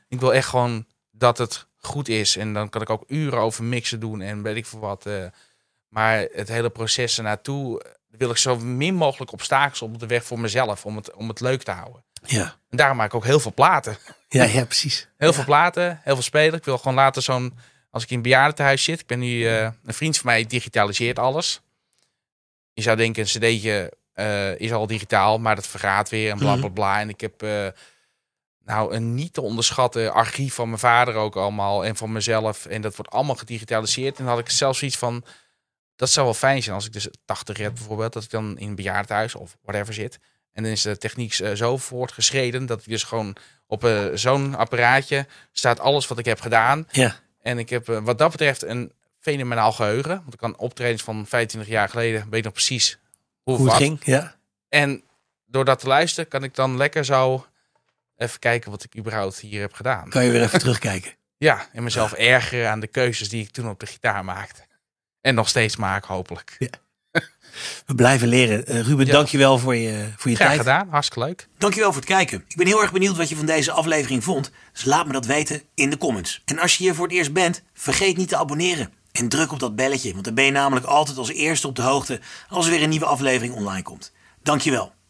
Ik wil echt gewoon dat het goed is. En dan kan ik ook uren over mixen doen en weet ik veel wat. eh. maar het hele proces ernaartoe eh, wil ik zo min mogelijk obstakels op de weg voor mezelf. Om het, om het leuk te houden. Ja. En daarom maak ik ook heel veel platen. Ja, ja, precies. Heel veel platen, heel veel spelen. Ik wil gewoon later zo'n... Als ik in een bejaardentehuis zit... Ik ben nu... eh, een vriend van mij digitaliseert alles. Je zou denken, een cd'tje eh, is al digitaal... maar dat vergaat weer en bla bla bla. En ik heb... eh, nou, een niet te onderschatten archief van mijn vader ook allemaal... en van mezelf. En dat wordt allemaal gedigitaliseerd. En dan had ik zelfs iets van... Dat zou wel fijn zijn als ik dus 80 heb bijvoorbeeld... dat ik dan in een bejaardentehuis of whatever zit... En dan is de techniek eh, zo voortgeschreden... dat ik dus gewoon op eh, zo'n apparaatje staat alles wat ik heb gedaan. Ja. En ik heb eh, wat dat betreft een fenomenaal geheugen. Want ik kan optredens van 25 jaar geleden, weet nog precies hoe, Hoe of het wat. ging. Ja. En door dat te luisteren kan ik dan lekker zo even kijken wat ik überhaupt hier heb gedaan. Kan je weer even terugkijken. Ja, en mezelf ergeren aan de keuzes die ik toen op de gitaar maakte. En nog steeds maak, hopelijk. We blijven leren. Eh, Ruben, Ja. dankjewel voor je, voor je Graag tijd. gedaan, hartstikke leuk. Dankjewel voor het kijken. Ik ben heel erg benieuwd wat je van deze aflevering vond. Dus laat me dat weten in de comments. En als je hier voor het eerst bent, vergeet niet te abonneren. En druk op dat belletje, want dan ben je namelijk altijd als eerste op de hoogte als er weer een nieuwe aflevering online komt. Dankjewel.